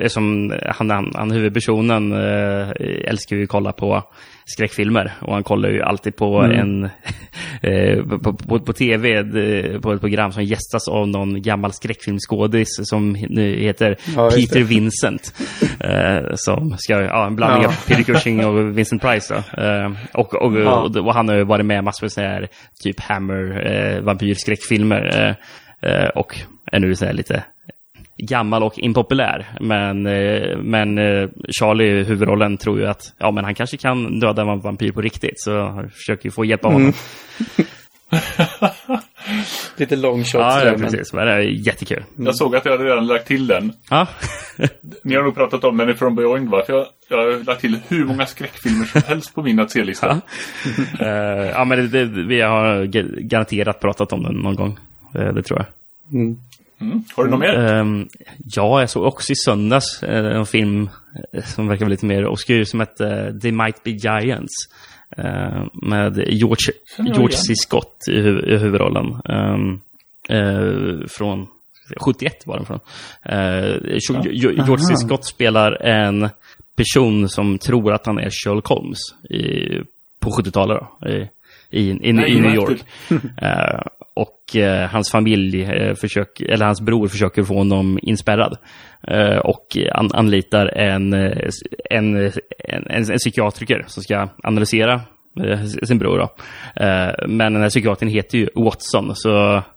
S4: eh, som han, han, han huvudpersonen eh, älskar ju att kolla på skräckfilmer. Och han kollar ju alltid på
S3: Mm.
S4: en, eh, på, på, på tv, eh, på ett program som gästas av någon gammal skräckfilmskådis som nu heter
S3: Ja, just
S4: Peter Vincent. Eh, som ska, ja, en blandning
S3: Ja.
S4: av Peter Cushing och Vincent Price då. Eh, och, och,
S3: Ja.
S4: och, och han har ju varit med i massor med sådana här typ Hammer, eh, vampyrskräckfilmer. Eh, eh, och är nu så här lite gammal och impopulär. Men, eh, men eh, Charlie, huvudrollen, tror ju att ja, men han kanske kan döda en vampyr på riktigt. Så han försöker ju få hjälp av honom.
S3: Lite long shot.
S4: Ja,
S3: sådär,
S4: ja,
S3: men-
S4: precis. Men det är jättekul.
S2: Jag såg att jag hade redan lagt till den.
S4: Ja.
S2: Ni har nog pratat om den i From Beyond va? För jag, jag har lagt till hur många skräckfilmer som helst på min att se-lista.
S4: Eh, ja, men det, det, vi har ga- garanterat pratat om den någon gång. Eh, det tror jag.
S3: Mm.
S2: Mm. Har du något mer?
S4: Ehm, ja, jag såg också i söndags eh, en film eh, som verkar lite mer obskyr som hette eh, They Might Be Giants. eh, med George,
S2: jag
S4: George
S2: igen.
S4: C. Scott i, hu- i huvudrollen. Ehm, eh, från 71 var den från. Eh, Jo- Jo- George C. Scott spelar en person som tror att han är Sherlock Holmes i, på 70-talet. Då, i, i, i, i New
S2: vad
S4: York.
S2: häftigt.
S4: Eh, och eh, hans familj, eh, försök, eller hans bror försöker få honom inspärrad. Eh, och an, anlitar en, eh, s- en, en, en, en psykiatriker som ska analysera eh, s- sin bror. Då. Eh, men den här psykiatrin heter ju Watson, så...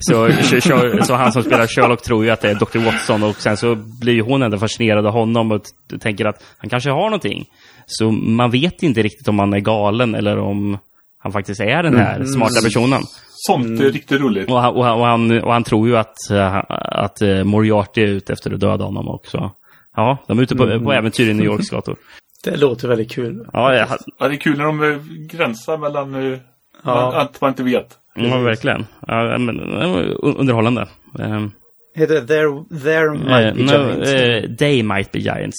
S4: Så, så, så, så han som spelar Sherlock tror ju att det är Dr. Watson och sen så blir ju hon ändå fascinerad av honom och t- tänker att han kanske har någonting. Så man vet inte riktigt om han är galen eller om han faktiskt är den här smarta personen.
S2: Sånt är riktigt roligt.
S4: Och han, och, han, och, han, och han tror ju att, eh, att eh, Moriarty är ute efter att döda honom också. Ja, de är ute på, på äventyr i New Yorks gator.
S3: Det låter väldigt kul.
S4: Ja, jag,
S2: Ja, det är kul när de eh, gränsar mellan eh,
S3: Ja.
S2: man- att man inte vet.
S4: ja verkligen. Ja, men, det var underhållande. Ehm,
S3: Heter det There, there
S4: eh,
S3: Might Be
S4: no,
S3: Giants?
S4: eh, they might be giants.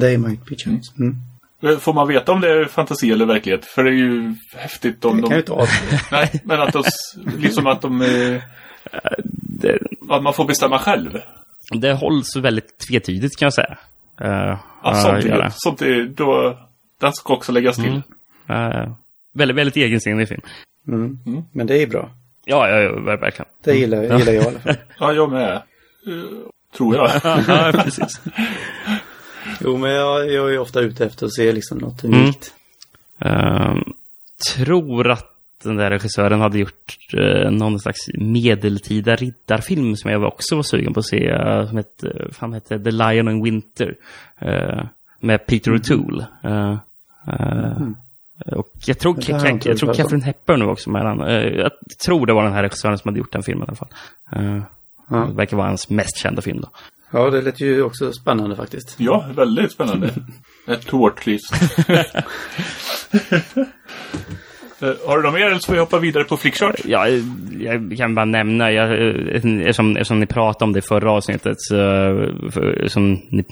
S3: They Might Be Giants. Mm.
S2: Eh, Får man veta om det är fantasi eller verklighet? För det är ju häftigt om
S3: Det kan
S2: de...
S3: ju inte avslöja.
S2: Nej, men att de... s- Liksom att de... eh, Att man får bestämma själv.
S4: Det hålls väldigt tvetydigt kan jag säga. Eh,
S2: Ja,
S4: ja,
S2: sånt,
S4: det gör
S2: är,
S4: det.
S2: sånt är, då, den ska också läggas till.
S4: Eh, väldigt, väldigt egensinnig film.
S3: Mm. Men det är bra.
S4: Ja, ja, ja ver- verkligen.
S3: Det gillar, gillar jag i alla fall.
S2: Ja, jag med. Eh, tror jag.
S4: ja, precis.
S3: Jo, men jag, jag är ofta ute efter att se liksom något
S4: Mm.
S3: unikt.
S4: Ehm, tror att den där regissören hade gjort eh, någon slags medeltida riddarfilm som jag också var sugen på att se. eh, Som hette, fan hette The Lion in Winter. eh, med Peter
S3: Mm.
S4: O'Toole. Eh, eh, Och jag tror,
S3: Mm-hmm. Det här har jag inte
S4: jag tror
S3: hört om.
S4: Catherine Hepburn var också med den. Eh, Jag tror det var den här regissören som hade gjort den filmen i alla fall. Eh,
S3: Ja.
S4: Det verkar vara hans mest kända film då.
S3: Ja, det lät ju också spännande faktiskt.
S2: Ja, väldigt spännande. Ett tårtklyst. Eh, Har du något mer eller ska vi hoppa vidare på Flickchart?
S4: Ja, jag kan bara nämna, jag, eftersom, eftersom ni pratade om det i förra avsnittet, så, för, som ni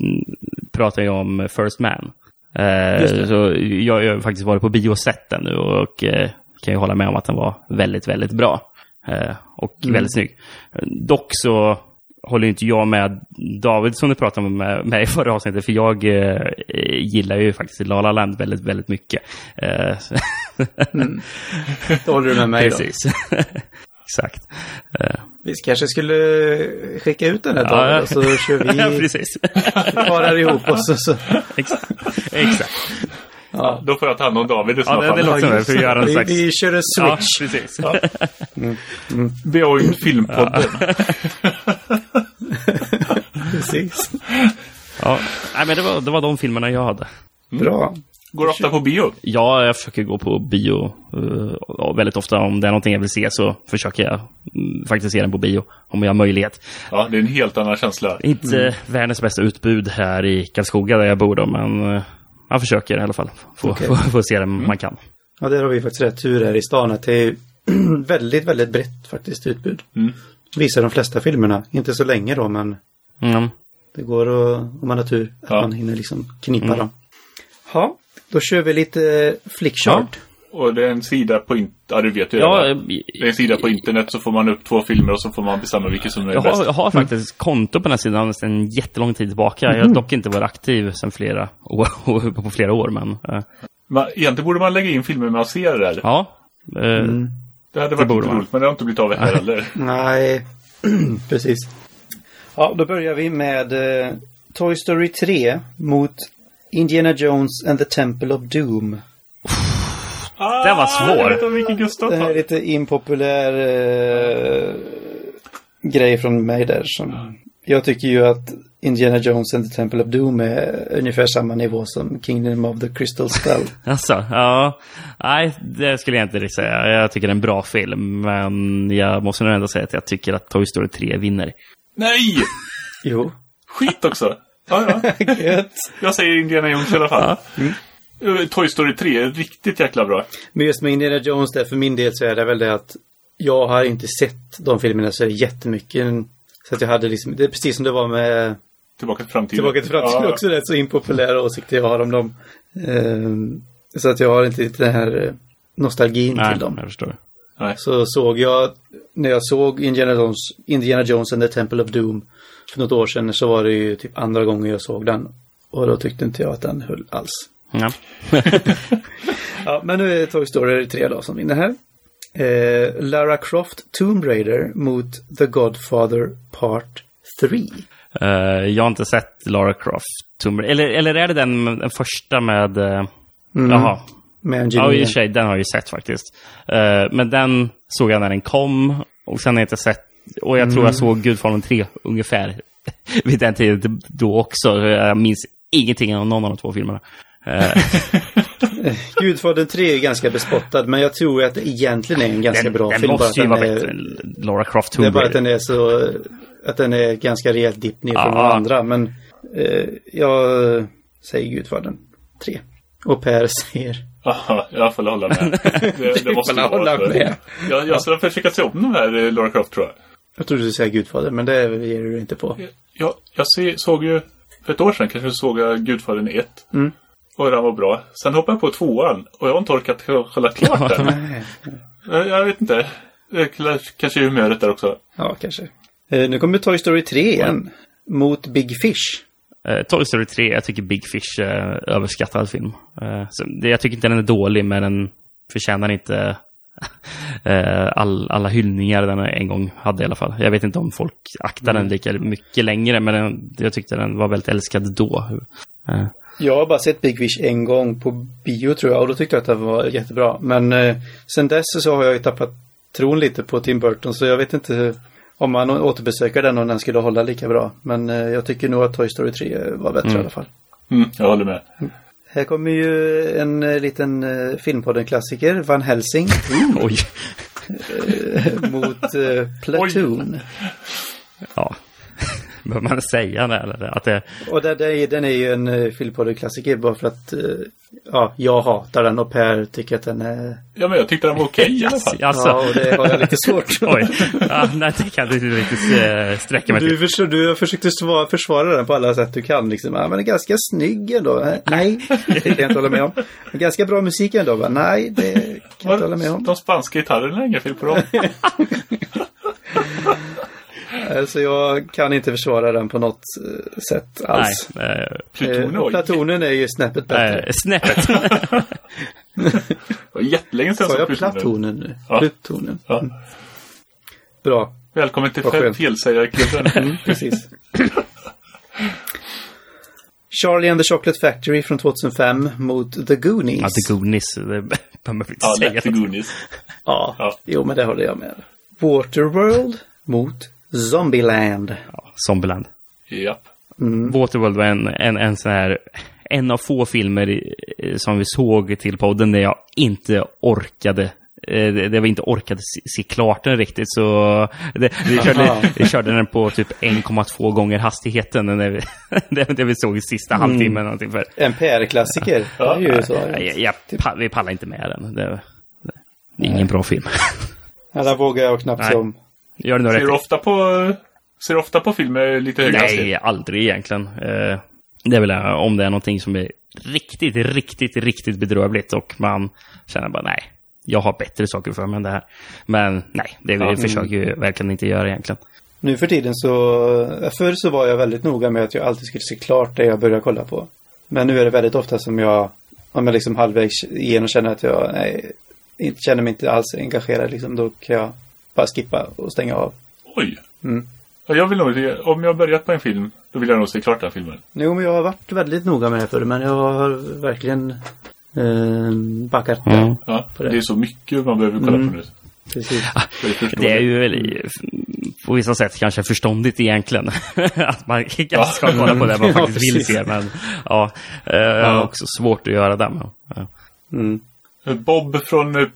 S4: pratade ju om First Man. Eh, så jag, jag har faktiskt varit på bio och sett den nu och eh, kan ju hålla med om att den var väldigt, väldigt bra. Eh, och väldigt snygg. Dock så håller inte jag med David som du pratade om med, med i förra avsnittet, för jag eh, gillar ju faktiskt La La Land väldigt, väldigt mycket. Eh, så-
S3: Då håller du med mig då.
S4: Precis. Exakt.
S3: Vi kanske skulle skicka ut den här
S4: Ja,
S3: dagen
S4: ja.
S3: och så kör vi,
S4: Precis.
S3: parar ihop oss och så.
S4: Exakt. Exakt.
S2: Då får jag ta hand om David i
S4: Ja,
S2: sådana
S4: det, det
S2: fall.
S4: låter som det,
S3: just
S4: för att göra en
S3: vi,
S4: slags...
S3: vi kör en
S4: Ja,
S3: switch.
S4: precis.
S2: Beyond Filmpodden.
S3: Precis.
S4: Ja. Nej, men det, var, det var de filmerna jag hade.
S3: Bra.
S2: Går ofta på bio.
S4: Ja, jag försöker gå på bio eh, och väldigt ofta. Om det är någonting jag vill se så försöker jag mm, faktiskt se den på bio om jag har möjlighet.
S2: Ja, det är en helt annan känsla.
S4: Inte världens bästa utbud här i Karlskoga där jag bor då, men eh, man försöker i alla fall få,
S3: Okej.
S4: få, få se den man kan.
S3: Ja, där har vi faktiskt rätt tur här i stan att det är väldigt, väldigt brett faktiskt utbud. Visar de flesta filmerna. Inte så länge då, men
S4: Mm.
S3: det går att, om man har tur, att
S2: Ja.
S3: man hinner liksom knipa dem. Ja, då kör vi lite eh, flickchart.
S2: Och det är en sida på... In- ja, du vet ju
S4: Ja, eh,
S2: det. va? Det är en sida på internet så får man upp två filmer och så får man bestämma vilken som är
S4: Jag har,
S2: bäst.
S4: jag har faktiskt konto på den här sidan sedan jättelång tid tillbaka. Jag har dock inte varit aktiv sedan flera år, på flera år, men eh,
S2: Man, egentligen borde man lägga in filmer man ser där.
S4: ja. Eh,
S2: Det hade varit lite
S4: borde man.
S2: roligt, men det har inte blivit av här heller.
S3: Nej, precis. Ja, då börjar vi med eh, Toy Story 3 mot Indiana Jones and the Temple of Doom.
S2: Det
S4: var svår.
S2: Ah, Jag vet inte vilken Gustav
S3: Det här är
S2: tar.
S3: lite impopulär eh, grej från mig där som Jag tycker ju att Indiana Jones and the Temple of Doom är ungefär samma nivå som Kingdom of the Crystal Skull.
S4: Alltså, ja. Nej, det skulle jag inte säga. Jag tycker det är en bra film, men jag måste nog ändå säga att jag tycker att Toy Story 3 vinner.
S2: Nej!
S3: jo.
S2: Skit också! Ja, ja.
S3: Gött.
S2: Jag säger Indiana Jones i alla fall.
S4: mm.
S2: Eh, Toy Story 3 är riktigt jäkla bra.
S3: Men just med Indiana Jones där, för min del så är det väl det att jag har inte sett de filmerna så jättemycket. Så att jag hade liksom, det är precis som det var med
S2: Tillbaka till framtiden.
S3: Tillbaka till framtiden
S2: Ja, ja.
S3: också, rätt så impopulära åsikter jag har om dem. Ehm, så att jag har inte riktigt den här eh, nostalgin
S4: Nej,
S3: till dem.
S4: jag förstår.
S2: Nej.
S3: Så såg jag, när jag såg Indiana Jones, Indiana Jones and the Temple of Doom för något år sedan så var det ju typ andra gången jag såg den. Och då tyckte inte jag att den höll alls.
S4: Ja.
S3: Ja, men nu är det Toy Story 3 då som vinner här. Eh, Lara Croft Tomb Raider mot The Godfather Part 3.
S4: Eh, jag har inte sett Lara Croft. Tomb Raider. Eller, eller är det den, den första med... eh, Jaha.
S3: Med
S4: Ja, i
S3: Angelina.
S4: och för sig, den har jag ju sett faktiskt. Eh, men den såg jag när den kom och sen har jag inte sett... Och jag tror jag såg Gudfadern 3 ungefär vid den tiden då också. Jag minns ingenting av någon av de två filmerna. Eh,
S3: Gudfadern 3 är ganska bespottad, men jag tror att det egentligen är en ganska
S4: den
S3: bra
S4: den
S3: film. bara att
S4: måste ju
S3: den
S4: vara
S3: är-
S4: bättre än Lara Croft
S3: Det är
S4: Tomb
S3: bara att
S4: Raider.
S3: den är så... Att den är ganska rejält dipp ner från
S4: Ja.
S3: den andra, men eh, jag säger Gudfadern 3. Och Per säger...
S2: Aha, jag får hålla med. Det, det måste
S3: får
S2: vara
S3: hålla
S2: så.
S3: med.
S2: Jag, jag ska försöka se om de här eh, Lara Croft tror jag.
S3: Jag trodde du skulle säga Gudfadern, men det ger du inte på.
S2: Jag, jag se, såg ju, för ett år sedan kanske såg jag Gudfadern 1.
S3: Mm.
S2: Och den var bra. Sen hoppade jag på tvåan och jag har inte orkat kolla klart den.
S3: Nej.
S2: Eh, Jag vet inte. Det är kla- Kanske humöret där också.
S3: Ja, kanske. Eh, nu kommer Toy Story 3 igen. Mot Big Fish.
S4: Eh, Toy Story 3, jag tycker Big Fish är överskattad film. Eh, så det, jag tycker inte den är dålig, men den förtjänar inte eh, all, alla hyllningar den en gång hade i alla fall. Jag vet inte om folk aktar
S3: Mm.
S4: den lika mycket längre, men den, jag tyckte den var väldigt älskad då. Eh,
S3: Jag har bara sett Big Fish en gång på bio tror jag och då tyckte jag att det var jättebra. Men eh, sen dess så har jag ju tappat tron lite på Tim Burton så jag vet inte om man återbesöker den och den skulle hålla lika bra. Men eh, jag tycker nog att Toy Story 3 var bättre i alla fall.
S2: Mm, jag håller med.
S3: Här kommer ju en eh, liten eh, filmpodden-klassiker, Van Helsing,
S4: Oj!
S3: mot eh, Platoon.
S4: Ja. Behöver man säga det? Eller? Att det
S3: Och där, där, är- den är ju en eh, filmpodden-klassiker bara för att eh, ja, jag hatar den och Per tycker att den är...
S2: Ja, men jag tyckte den var okej i alla fall.
S4: alltså,
S3: Ja, och det har jag lite svårt
S4: Oj, ja, nej, det kan jag inte riktigt eh, sträcka mig
S3: Du,
S4: till.
S3: försö- du försökte svara, försvara den på alla sätt du kan. Liksom. Ja, men den är ganska snygg ändå. Eh, Nej, det kan jag inte hålla med om. Ganska bra musik ändå. Va? Nej, det kan jag inte hålla med om. Eh,
S2: De spanska gitarrerna är inga fel på dem.
S3: Alltså, jag kan inte försvara den på något eh, sätt
S4: Nej,
S3: alls.
S4: eh,
S2: Pluton,
S3: Eh, och
S2: oj. Det
S3: Platonen är ju snäppet bättre.
S4: eh, snäppet.
S2: var jättelänge sedan
S3: Sa
S2: jag
S3: jag
S2: såg Plutonen.
S3: Platonen nu?
S2: Ja.
S3: Plutonen. Mm.
S2: Ja.
S3: Bra,
S2: Välkommen till
S3: Vad skönt.
S2: felsägarklubben.
S3: Mm, precis. Charlie and the Chocolate Factory från 2005 mot The Goonies.
S4: Ja, The Alltså, Goonies. Det behöver man inte
S2: Ja,
S4: säga.
S2: lätt till Goonies.
S3: Ja,
S2: Ja.
S3: jo men det håller jag med. Waterworld mot Zombieland.
S4: Ja, Zombieland.
S2: Japp.
S3: Mm.
S4: Waterworld var en, en, en sån här... En av få filmer eh, som vi såg till podden där jag inte orkade eh, det- det var inte orkade se, se klart den riktigt så det, vi, körde, vi körde den på typ 1,2 gånger hastigheten när vi, det, det vi såg i sista halvtimmen. Någonting för,
S3: En PR-klassiker. Ja, Mm. det är ju så.
S4: jag, jag, pa- vi pallar inte med den. Det, det är ingen bra film.
S3: Alla vågar jag knappt
S4: Nej.
S3: som.
S4: Gör det nog
S2: Ser
S4: rätt
S2: du ofta på, ser du ofta på filmer lite högre hastighet?
S4: Nej, aldrig egentligen. Eh, Det är väl eh, om det är någonting som är riktigt, riktigt, riktigt bedrövligt och man känner bara nej, jag har bättre saker för mig än det här. Men nej, det vi försöker ju verkligen inte göra egentligen.
S3: Nu för tiden så, förr så var jag väldigt noga med att jag alltid skulle se klart det jag började kolla på. Men nu är det väldigt ofta som jag, om jag liksom halvvägs igenom känner att jag nej, inte, känner mig inte alls engagerad liksom, då kan jag bara skippa och stänga av. Mm.
S2: Oj. Ja, Jag vill nog, om jag har börjat på en film, då vill jag nog se klart den filmen.
S3: Jo, men jag har varit väldigt noga med det förr, men jag har verkligen eh, backat där.
S4: Mm.
S2: Ja,
S3: det.
S2: Mm. det är så mycket man behöver kolla på nu.
S3: Precis.
S2: För att förstå
S4: Det är
S2: det.
S4: ju på vissa sätt kanske förståndigt egentligen. att man kanske ska kolla på det man
S3: Ja,
S4: faktiskt vill
S3: precis.
S4: se. Men ja, eh, jag har också svårt att göra det. Men, ja.
S3: Mm.
S2: Bob från eh,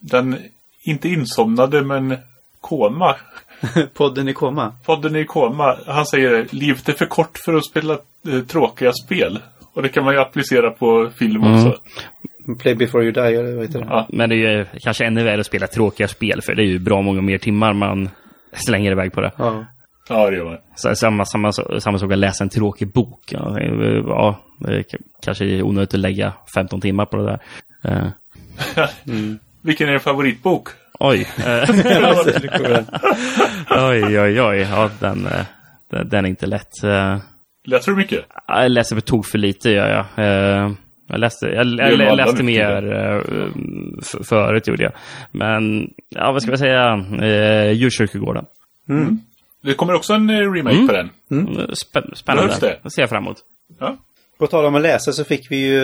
S2: den, inte insomnade, men koma.
S3: Podden i koma.
S2: Podden i koma. Han säger livet är för kort för att spela eh, tråkiga spel. Och det kan man ju applicera på film också.
S3: Play before you die, eller vad heter det?
S2: Ja.
S4: men det är ju kanske ännu värre att spela tråkiga spel. För det är ju bra många mer timmar man slänger iväg på det.
S3: Ja.
S2: Ja, det gör man.
S4: Så- Samma, samma, samma sak att läsa en tråkig bok. Ja, eh, ja, eh, k- kanske är onödigt att lägga 15 timmar på det där. Eh,
S2: Vilken är din favoritbok?
S4: oj. eh, oj, oj, oj. Ja, den, eh, den, den är inte lätt. Eh,
S2: Läser du mycket?
S4: Ja, Jag läser på tok för lite, gör jag. Eh, Jag läste, jag,
S2: är
S4: jag,
S2: ju alla
S4: jag läste
S2: nu för
S4: mer eh, f- förut, gjorde jag. Men, ja, vad ska man säga? Eh, Djurkyrkogården.
S2: Det kommer också en eh, remake på den.
S4: Mm. Spä- Spännande.
S2: Behövs det?
S4: Det ser jag fram emot.
S2: Ja.
S3: På tal om att läsa så fick vi ju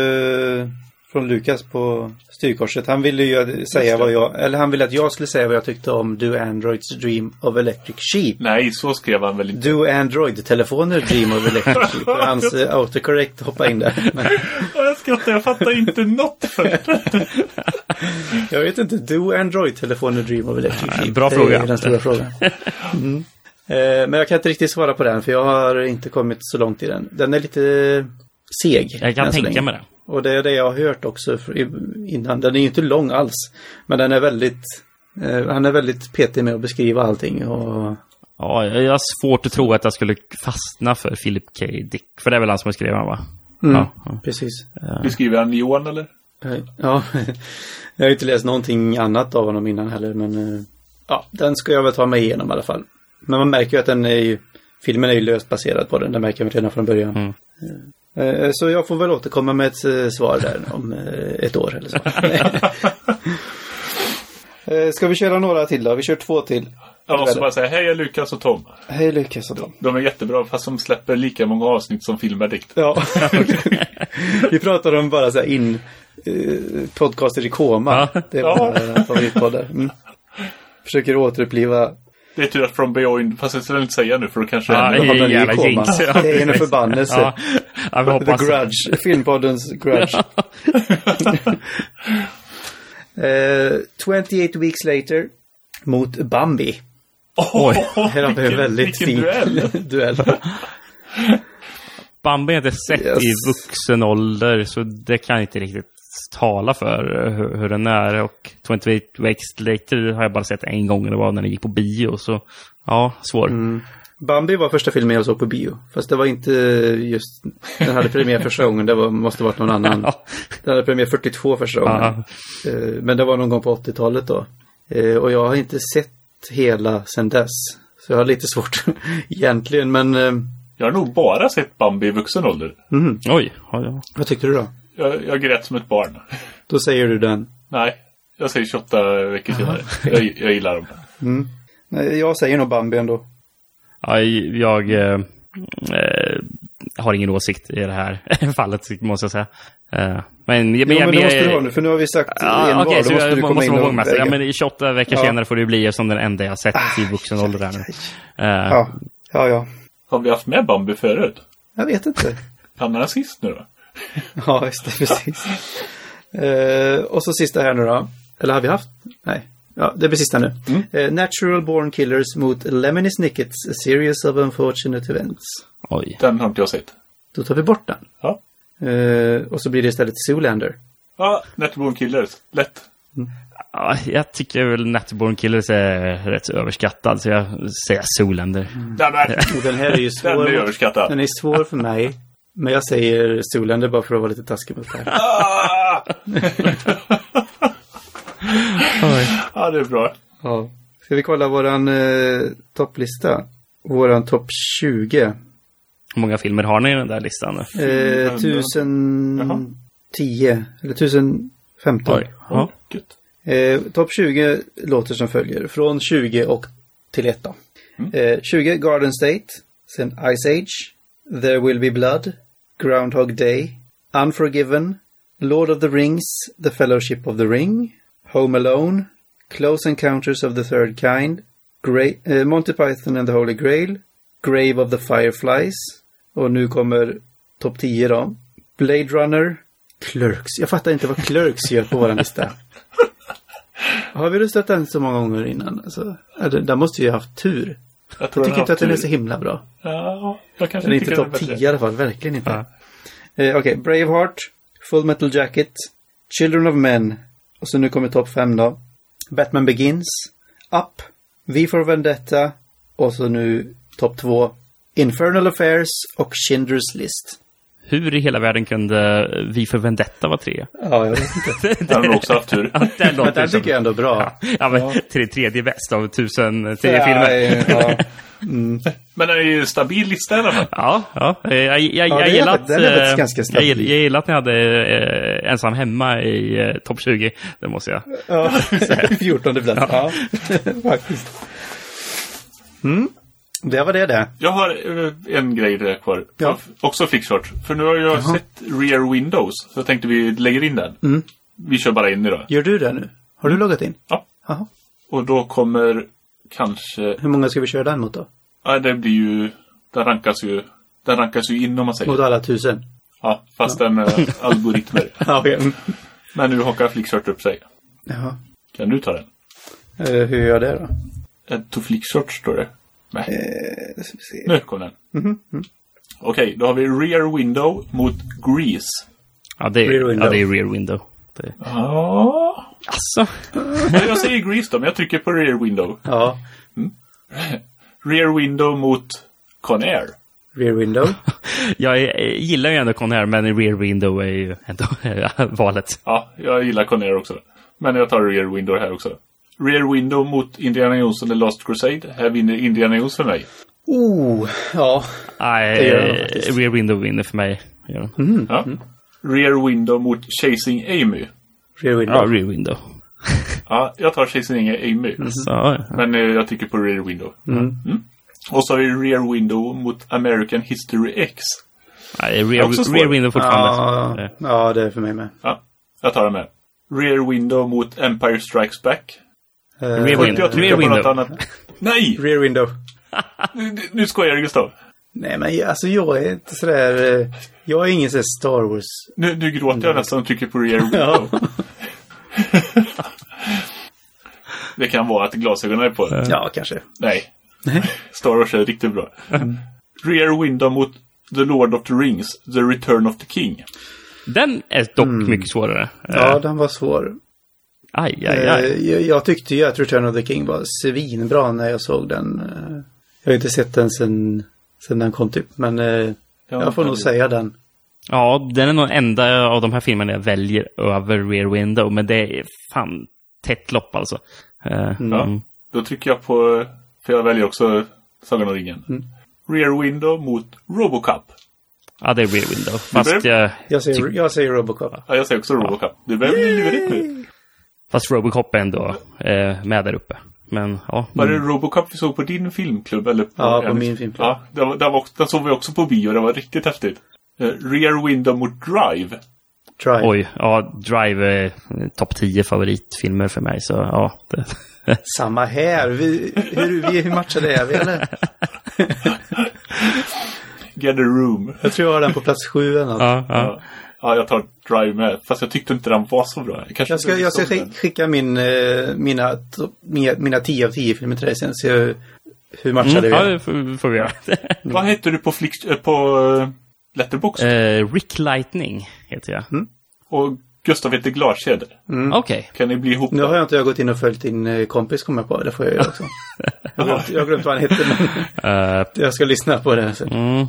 S3: från Lukas på styrkorset. Han ville ju säga vad jag, eller han ville att jag skulle säga vad jag tyckte om Do Androids Dream of Electric Sheep.
S2: Nej, så skrev han väl inte.
S3: Do Android-telefoner Dream of Electric Sheep. Hans eh, autocorrect hoppade in där. Men
S2: Jag skrattar, jag fattar inte något för
S3: jag vet inte, Do Android-telefoner Dream of Electric Sheep.
S4: bra
S3: det
S4: fråga.
S3: är den stora frågan. Mm. Eh, Men jag kan inte riktigt svara på den för jag har inte kommit så långt i den. Den är lite seg.
S4: Jag kan
S3: än så
S4: tänka
S3: länge.
S4: mig det.
S3: Och det är det jag har hört också för- innan. Den är ju inte lång alls. Men den är väldigt... Eh, han är väldigt petig med att beskriva allting. Och,
S4: Ja, jag jag har svårt att tro att jag skulle fastna för Philip K. Dick. För det är väl han som har skrivit den, va?
S3: mm,
S4: Ja, ja.
S3: Precis.
S2: Beskriver han Johan eller?
S3: Eh, Ja, jag har ju inte läst någonting annat av honom innan heller. Men eh, ja, den ska jag väl ta mig igenom i alla fall. Men man märker ju att den är ju... Filmen är ju löst baserad på den. Det märker man redan från början.
S4: Mm.
S3: Eh, Så jag får väl återkomma med ett eh, svar där om eh, ett år eller så. Eh, Ska vi köra några till då? Vi kör två till.
S2: Jag måste bara säga, hej jag är Lukas och Tom.
S3: Hej Lukas och Tom.
S2: De är jättebra fast de släpper lika många avsnitt som filmer dikt.
S3: Ja, vi pratar om bara så här in eh, podcaster i koma.
S4: Ja.
S3: Det är
S2: Ja.
S3: våra favoritpoddar. Mm. Försöker återuppliva.
S2: Det är tur att From Beyond, fast jag ska inte säga nu för då kanske...
S4: Ja,
S3: hamnar vi i
S4: jävla
S3: koma.
S4: jinx. Ja,
S3: Det är en
S4: precis.
S3: förbannelse.
S4: Ja, ja, vi hoppas
S3: The
S4: det.
S3: Grudge, filmpoddens Grudge. Eh, 28 weeks later mot Bambi.
S4: Oj,
S3: Här har vi en
S2: Vilken-
S3: väldigt
S2: vilken
S3: fin
S2: duell.
S3: duell.
S4: Bambi har jag inte sett
S3: Yes.
S4: i vuxen ålder, så det kan jag inte riktigt tala för eh, hur, hur den är. Och 28 Weeks Later har jag bara sett en gång, det var när den gick på bio. Så ja, svår.
S3: Mm. Bambi var första filmen jag såg på bio. Fast det var inte just, den hade premiär första gången, det var, måste varit någon annan.
S4: Ja.
S3: Den hade premiär 42 första gången.
S4: Ja.
S3: Eh, Men det var någon gång på 80-talet då. Eh, Och jag har inte sett hela sedan dess. Så jag har lite svårt egentligen, men eh,
S2: Jag har nog bara sett Bambi i vuxen ålder.
S4: Oj, ja, ja.
S3: vad tyckte du då?
S2: Jag, jag grät som ett barn.
S3: Då säger du den.
S2: Nej, jag säger 28 veckor senare. Jag, jag gillar dem.
S3: Nej, Jag säger nog Bambi ändå.
S4: ja jag eh, eh, har ingen åsikt i det här fallet, måste jag säga. Eh, men, men,
S3: Jo,
S4: men
S3: men det måste
S4: jag-
S3: du ha nu, för nu har vi sagt en
S4: Ja,
S3: var.
S4: Okej,
S3: Då
S4: så
S3: måste
S4: jag
S3: du
S4: må-
S3: komma
S4: måste
S3: in
S4: vara
S3: och
S4: vågmästare. Ja,
S3: väga.
S4: men i 28 veckor
S3: Ja. Ah,
S4: senare får det bli som den enda jag har sett i vuxen ålder här nu. Eh,
S3: ja, ja, ja.
S2: Har vi haft med Bambi förut?
S3: Jag vet inte.
S2: Hamnar han sist nu då?
S3: Ja, just det, precis. Eh, och så sista här nu då. Eller har vi haft? Nej. Ja, det blir sista nu. Eh, Natural Born Killers mot Lemony Snickets, A Series of Unfortunate Events.
S4: Oj.
S2: Den har inte jag sett.
S3: Då tar vi bort den.
S2: Ja.
S3: Eh, och så blir det istället Zoolander.
S2: Ja, Netborn Killers. Lätt.
S4: Ja, jag tycker väl Natterborn Killers är rätt överskattad, så jag säger Solander.
S2: Nämen!
S3: Och Oh, den här är ju
S2: Den är
S3: svår.
S2: överskattad.
S3: den är svår för mig. Men jag säger Zoolander bara för att vara lite taskig mot Per.
S2: Ah! ja, det är bra.
S3: Ja. Ska vi kolla våran eh, topplista? Våran topp 20.
S4: Hur många filmer har ni i den där listan? nu?
S3: Eh, 1010 eller 1015.
S4: Oj. Ja.
S2: Gött.
S3: Eh, Topp 20 låter som följer. Från 20 och till 1. då. Eh, 20 Garden State. Sen Ice Age. There Will Be Blood. Groundhog Day. Unforgiven. Lord of the Rings. The Fellowship of the Ring. Home Alone. Close Encounters of the Third Kind. Grey, eh, Monty Python and the Holy Grail, Grave of the Fireflies och nu kommer topp 10 då. Blade Runner, Clerks. Jag fattar inte vad Clerks gör på vår lista. Har vi röstat den så många gånger innan? Alltså, ja, den den måste ju ha haft tur.
S2: Jag
S3: Jag
S2: tror
S3: tycker
S2: har
S3: inte att den är
S2: haft
S3: så himla bra.
S2: tur. Ja, jag kanske
S3: Den är inte
S2: tycker
S3: topp
S2: den är
S3: 10 i
S2: bättre.
S3: alla fall, verkligen inte.
S2: Ja.
S3: Eh, Okej, Braveheart, Full Metal Jacket, Children of Men och så nu kommer topp 5 då. Batman Begins, Up, V for Vendetta och så nu topp 2. Infernal Affairs och Schindler's List.
S4: Hur i hela världen kunde Vi för Vendetta vara tre?
S3: Ja, jag vet inte.
S2: Den har nog också haft tur.
S4: Att den
S3: Men
S4: låter
S3: den
S4: som...
S3: tycker jag ändå är bra.
S4: Ja, men tre, tredje bäst av tusen tio filmer.
S3: eh, Ja,
S2: Men den är ju en stabil lista i alla fall.
S4: Ja, ja. eh, Jag, jag,
S3: Ja,
S4: jag,
S3: det är
S4: gillar
S3: faktiskt-
S4: att,
S3: den är
S4: eh,
S3: faktiskt ganska
S4: jag,
S3: stabil.
S4: gill- jag gillar att ni hade eh, ensam hemma i eh, topp 20. Det måste jag.
S3: ja. 14 plats. Ja, faktiskt. Mm. Det var det det.
S2: Jag har eh, en grej där kvar.
S3: Ja.
S2: Också flickshort. För nu har jag sett Rear Windows. Så jag tänkte vi lägger in den.
S3: Mm.
S2: Vi kör bara in idag.
S3: Gör du det nu? Har du loggat in?
S2: Ja.
S3: Jaha.
S2: Och då kommer kanske...
S3: Hur många ska vi köra den mot då?
S2: Ja, det blir ju... Den rankas ju... Den rankas ju in om man
S3: Mot
S2: säger.
S3: alla tusen?
S2: Ja, fast den eh, algoritmer.
S3: Ja, okej.
S2: Men nu hakar flickshort upp sig.
S3: Jaha.
S2: Kan du ta den?
S3: Eh, hur gör jag det då?
S2: Eh, To flickshort står det. Nej.
S3: Eh, ska vi se.
S2: Nu kom den. Okej, då har vi Rear Window mot Grease.
S4: Ja, det är
S3: Rear window.
S4: Ja, det är rear window. Det,
S2: Ja.
S4: alltså,
S2: Men jag säger Grease då, men jag trycker på Rear Window.
S3: Ja,
S2: Rear Window mot Conair.
S3: rear window.
S4: jag eh, gillar ju ändå Conair, men rear window är ju ändå valet.
S2: Ja, jag gillar Conair också. Men jag tar Rear Window här också. Rear Window mot Indiana Jones and the Lost Crusade. Här vinner Indiana Jones för mig.
S3: Oh, ja.
S4: Nej,
S3: Det gör den
S4: eh,
S3: faktiskt. Mhm.
S4: rear window vinner för mig. Gör den.
S2: Ja. Rear Window mot Chasing Amy.
S3: Rear window.
S4: Ja, rear window.
S2: Ja, jag tar Chasing Amy.
S4: Så, ja.
S2: Men eh, jag tycker på Rear Window. Mm. Och så har vi Rear Window mot American History X.
S4: Nej,
S2: är också
S4: rear,
S2: svår.
S4: rear window fortfarande.
S3: ja,
S4: Eh,
S3: ja, det är för mig med.
S2: Ja, jag tar den med. Rear Window mot Empire Strikes Back.
S3: Eh,
S4: Rear
S2: Får
S4: window.
S2: inte jag trycka
S4: Rear
S2: på något
S4: window.
S2: annat? Nej!
S3: rear window.
S2: Nu- Nu skojar jag Gustav.
S3: Nej, men jag- alltså jag är inte sådär... eh, Jag är ingen sån här Star Wars...
S2: Nu, nu gråter jag nästan och trycker på Rear Window. Det kan vara att glasögonen är på.
S3: Ja, kanske.
S2: Nej,
S3: Nej.
S2: Star Wars är riktigt bra. Rear Window mot The Lord of the Rings, The Return of the King.
S4: Den är dock mycket svårare.
S3: Mm. Ja,
S4: Eh,
S3: den var svår.
S4: Aj, aj, aj.
S3: Eh, Jag, jag tyckte ju att Return of the King var svinbra när jag såg den. Eh, Jag har inte sett den sen, sen den kom typ, men eh, jag får nog säga den.
S4: Ja, den är nog enda av de här filmerna jag väljer över Rear Window, men det är fan tätt lopp alltså. Eh,
S2: Mm. Ja, då trycker jag på, för jag väljer också Sagan om ringen.
S3: Mm.
S2: Rear Window mot Robocop.
S4: Ja, det är Rear
S2: Mm.
S4: Window. Fast,
S2: Super.
S4: jag,
S3: Jag säger, jag säger Robocop.
S2: Ja, jag säger också Robocop. Du börjar bli lurig nu.
S4: fast Robocop är ändå eh, med där uppe. Men ja,
S2: Var det Robocop vi såg på din filmklubb? Eller på
S3: Mm. Ja, på
S2: en-
S3: min filmklubb.
S2: Ja, den, var, den, var, den såg vi också på bio. Det var riktigt häftigt. Eh, Rear Window mot Drive.
S3: Try.
S4: oj, ja, Drive är topp 10 favoritfilmer för mig, så ja. Det,
S3: Samma här. Vi, hur, vi, hur matchade är vi eller?
S2: Get a room.
S3: Jag tror jag har den på plats sju eller något.
S4: ja, ja.
S2: Ja. ja, jag tar Drive med. Fast jag tyckte inte den var så bra. Jag, kanske
S3: Jag ska,
S2: inte
S3: jag ska
S2: såg den.
S3: skick- skicka min, eh, mina, to- mina, mina 10 av 10 filmer till dig sen. Se hur, hur matchade
S4: Mm, ja,
S3: vi.
S4: det får, får vi göra.
S2: Vad hette du på, Flix, eh, på eh, Letterboxd?
S4: Eh, Rick Lightning heter jag.
S2: Mm. Och Gustav heter Glaskjäder.
S4: Okej.
S2: Kan ni bli ihop?
S3: Nu har jag inte jag gått in och följt din eh, kompis kommer jag på. Det får jag göra också. Jag har glömt- jag har glömt vad han heter men
S4: Eh,
S3: jag ska lyssna på det sen.
S4: Mm.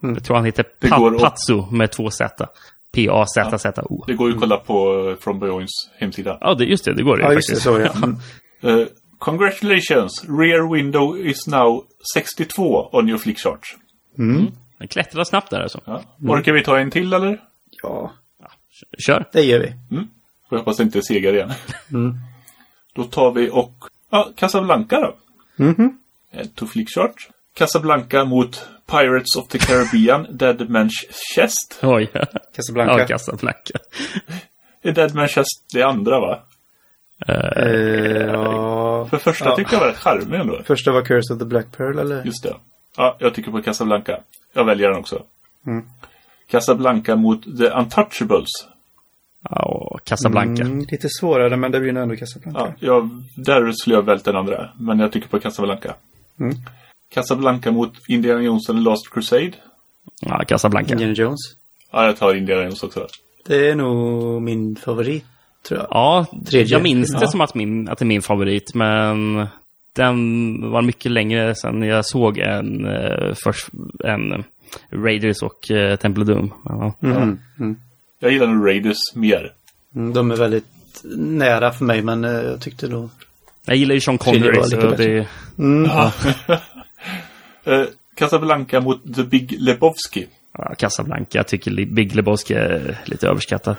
S4: Jag tror han heter
S2: Det
S4: pa-
S2: går åt-
S4: Pazzo med två Z. P-A-Z-Z-O.
S2: Det går ju att kolla på eh, From Beyonds hemsida.
S4: Ja, det, just det. Det går det
S3: Ja, just det.
S4: faktiskt.
S3: Så var det. Mm.
S2: Eh, congratulations! Rear window is now 62 on your flickchart.
S4: Den klättrar snabbt där alltså.
S2: Ja.
S3: Mm.
S2: Orkar vi ta en till eller?
S3: Ja,
S4: Kör.
S3: det gör vi.
S2: Får jag hoppas det inte segar igen.
S3: Mm.
S2: Då tar vi och... Ja, Casablanca då.
S3: Mhm.
S2: Mm. To flickchart. Casablanca mot Pirates of the Caribbean, Dead Man's Chest.
S4: Oj. Ja,
S3: Casablanca.
S4: Casablanca.
S2: Är Dead Man's Chest det andra va?
S3: Eh, ja, var...
S2: För första
S3: ja.
S2: tyckte jag var rätt charmig ändå.
S3: Första var Curse of the Black Pearl eller?
S2: Just det. Ja, jag tycker på Casablanca. Jag väljer den också.
S3: Mm.
S2: Casablanca mot The Untouchables.
S4: Ja, och Casablanca.
S3: Mm, lite svårare men det blir nog ändå Casablanca.
S2: Ja, jag, där skulle jag vält den andra, men jag tycker på Casablanca.
S3: Mm.
S2: Casablanca mot Indiana Jones and the Last Crusade.
S4: Ja, Casablanca.
S3: Indiana Jones.
S2: Ja, jag tar Indiana Jones också.
S3: Det är nog min favorit tror jag.
S4: Ja,
S3: Tredje.
S4: jag minns det
S3: Ja.
S4: som att, min, att det är min favorit, men den var mycket längre sedan jag såg en, eh, först, en Raiders och eh, Temple of Doom. Men, ja.
S3: Mm.
S2: Jag gillar nog Raiders mer.
S3: Mm, De är väldigt nära för mig men eh, jag tyckte då...
S4: Jag gillar ju Sean
S3: Tredje
S4: Connery,
S3: var
S4: så
S3: lite bättre.
S4: det,
S3: Mm.
S2: Eh, Casablanca mot The Big Lebowski.
S4: ja, Casablanca. Jag tycker Li- Big Lebowski är lite överskattad.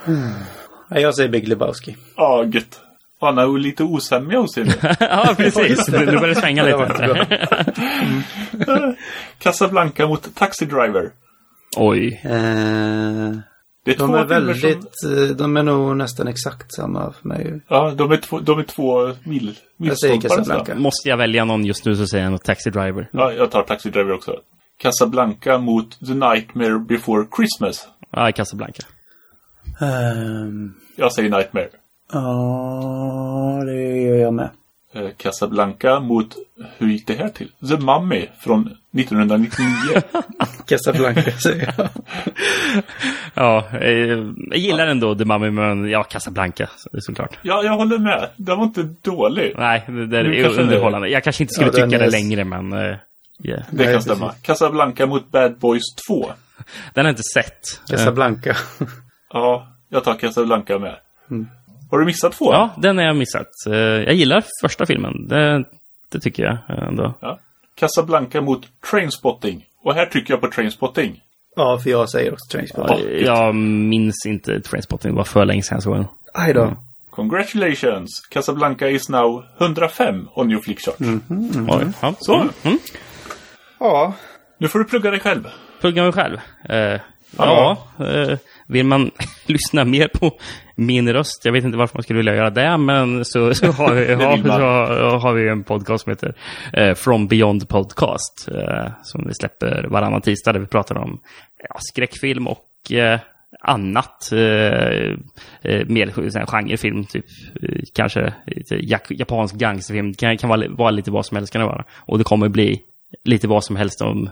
S3: Ja, Jag säger Big Lebowski.
S2: Ja, gött. Han har ju lite osämja hos er.
S4: ja, precis. Nu börjar det svänga
S3: Det var inte
S4: lite.
S3: bra.
S2: Casablanca mot Taxi Driver.
S4: Oj.
S3: Eh,
S2: Det är
S3: de
S2: två
S3: är
S2: filmer som-
S3: väldigt... eh, De är nog nästan exakt samma för mig.
S2: Ja, de är två, de är två mil,
S3: Jag säger
S2: milstolpar nästan.
S3: Casablanca.
S4: Måste jag välja någon just nu så säger jag nog Taxi Driver.
S2: Ja, jag tar Taxi Driver också. Casablanca mot The Nightmare Before Christmas.
S4: Ja, Casablanca.
S3: Ehm,
S2: Jag säger Nightmare.
S3: Ja, det gör jag med.
S2: Eh, Casablanca mot, hur gick det här till? The Mummy från 1999.
S3: Casablanca säger jag.
S4: Ja, eh, jag gillar ändå The Mummy, men ja, Casablanca så- såklart.
S2: ja, jag håller med. Den var inte dålig.
S4: Nej, det det
S2: Nu
S4: är
S2: kanske-
S4: underhållande. Jag kanske inte skulle
S3: Ja, den
S4: tycka
S3: är-
S4: det längre, men eh, yeah.
S2: Det
S3: Nej,
S2: kan stämma. Casablanca mot Bad Boys 2.
S4: den har jag inte sett. Eh,
S3: Casablanca.
S2: Ja, jag tar Casablanca med. Har du missat två?
S4: Ja, den har jag missat. Eh, Jag gillar första filmen. Det, det tycker jag ändå.
S2: Ja. Casablanca mot Trainspotting. Och här tycker jag på Trainspotting.
S3: ja, för jag säger också Trainspotting.
S4: Eh, Jag minns inte Trainspotting. Det var för länge sedan jag såg den.
S3: Aj då.
S2: Congratulations! Casablanca is now 105 on your flick chart.
S4: Oj, ja.
S2: Så.
S4: Mm. Mm.
S3: Ja.
S2: Nu får du plugga dig själv.
S4: pluggar mig själv. Eh, ja, eh, vill man lyssna mer på min röst, jag vet inte varför man skulle vilja göra det, men så, så, har, vi,
S2: Det
S4: har,
S2: vill man.
S4: så har vi en podcast som heter eh, From Beyond Podcast, eh, som vi släpper varannan tisdag, där vi pratar om ja, skräckfilm och eh, annat. Eh, eh, mer sån här genrefilm, typ eh, kanske lite jak- japansk gangsterfilm. Det kan, kan vara, vara lite vad som helst kan det vara. Och det kommer bli lite vad som helst om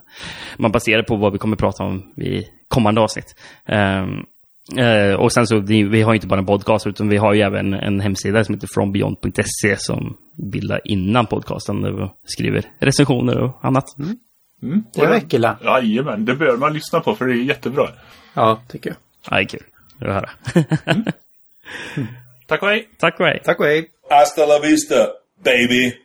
S4: man baserar på vad vi kommer prata om i kommande avsnitt. Ehm, eh, och sen så, det- vi har ju inte bara en podcast utan vi har ju även en hemsida som heter frombeyond.se som bildar innan podcasten där vi skriver recensioner och annat.
S2: Mm.
S3: Det var Ekela.
S2: Jajamän, det bör man lyssna på för det är jättebra.
S3: Ja, tycker jag.
S4: Ja, det är kul att höra.
S2: Tack och hej!
S4: Tack och hej!
S3: Tack och hej.
S5: Hasta la vista, baby.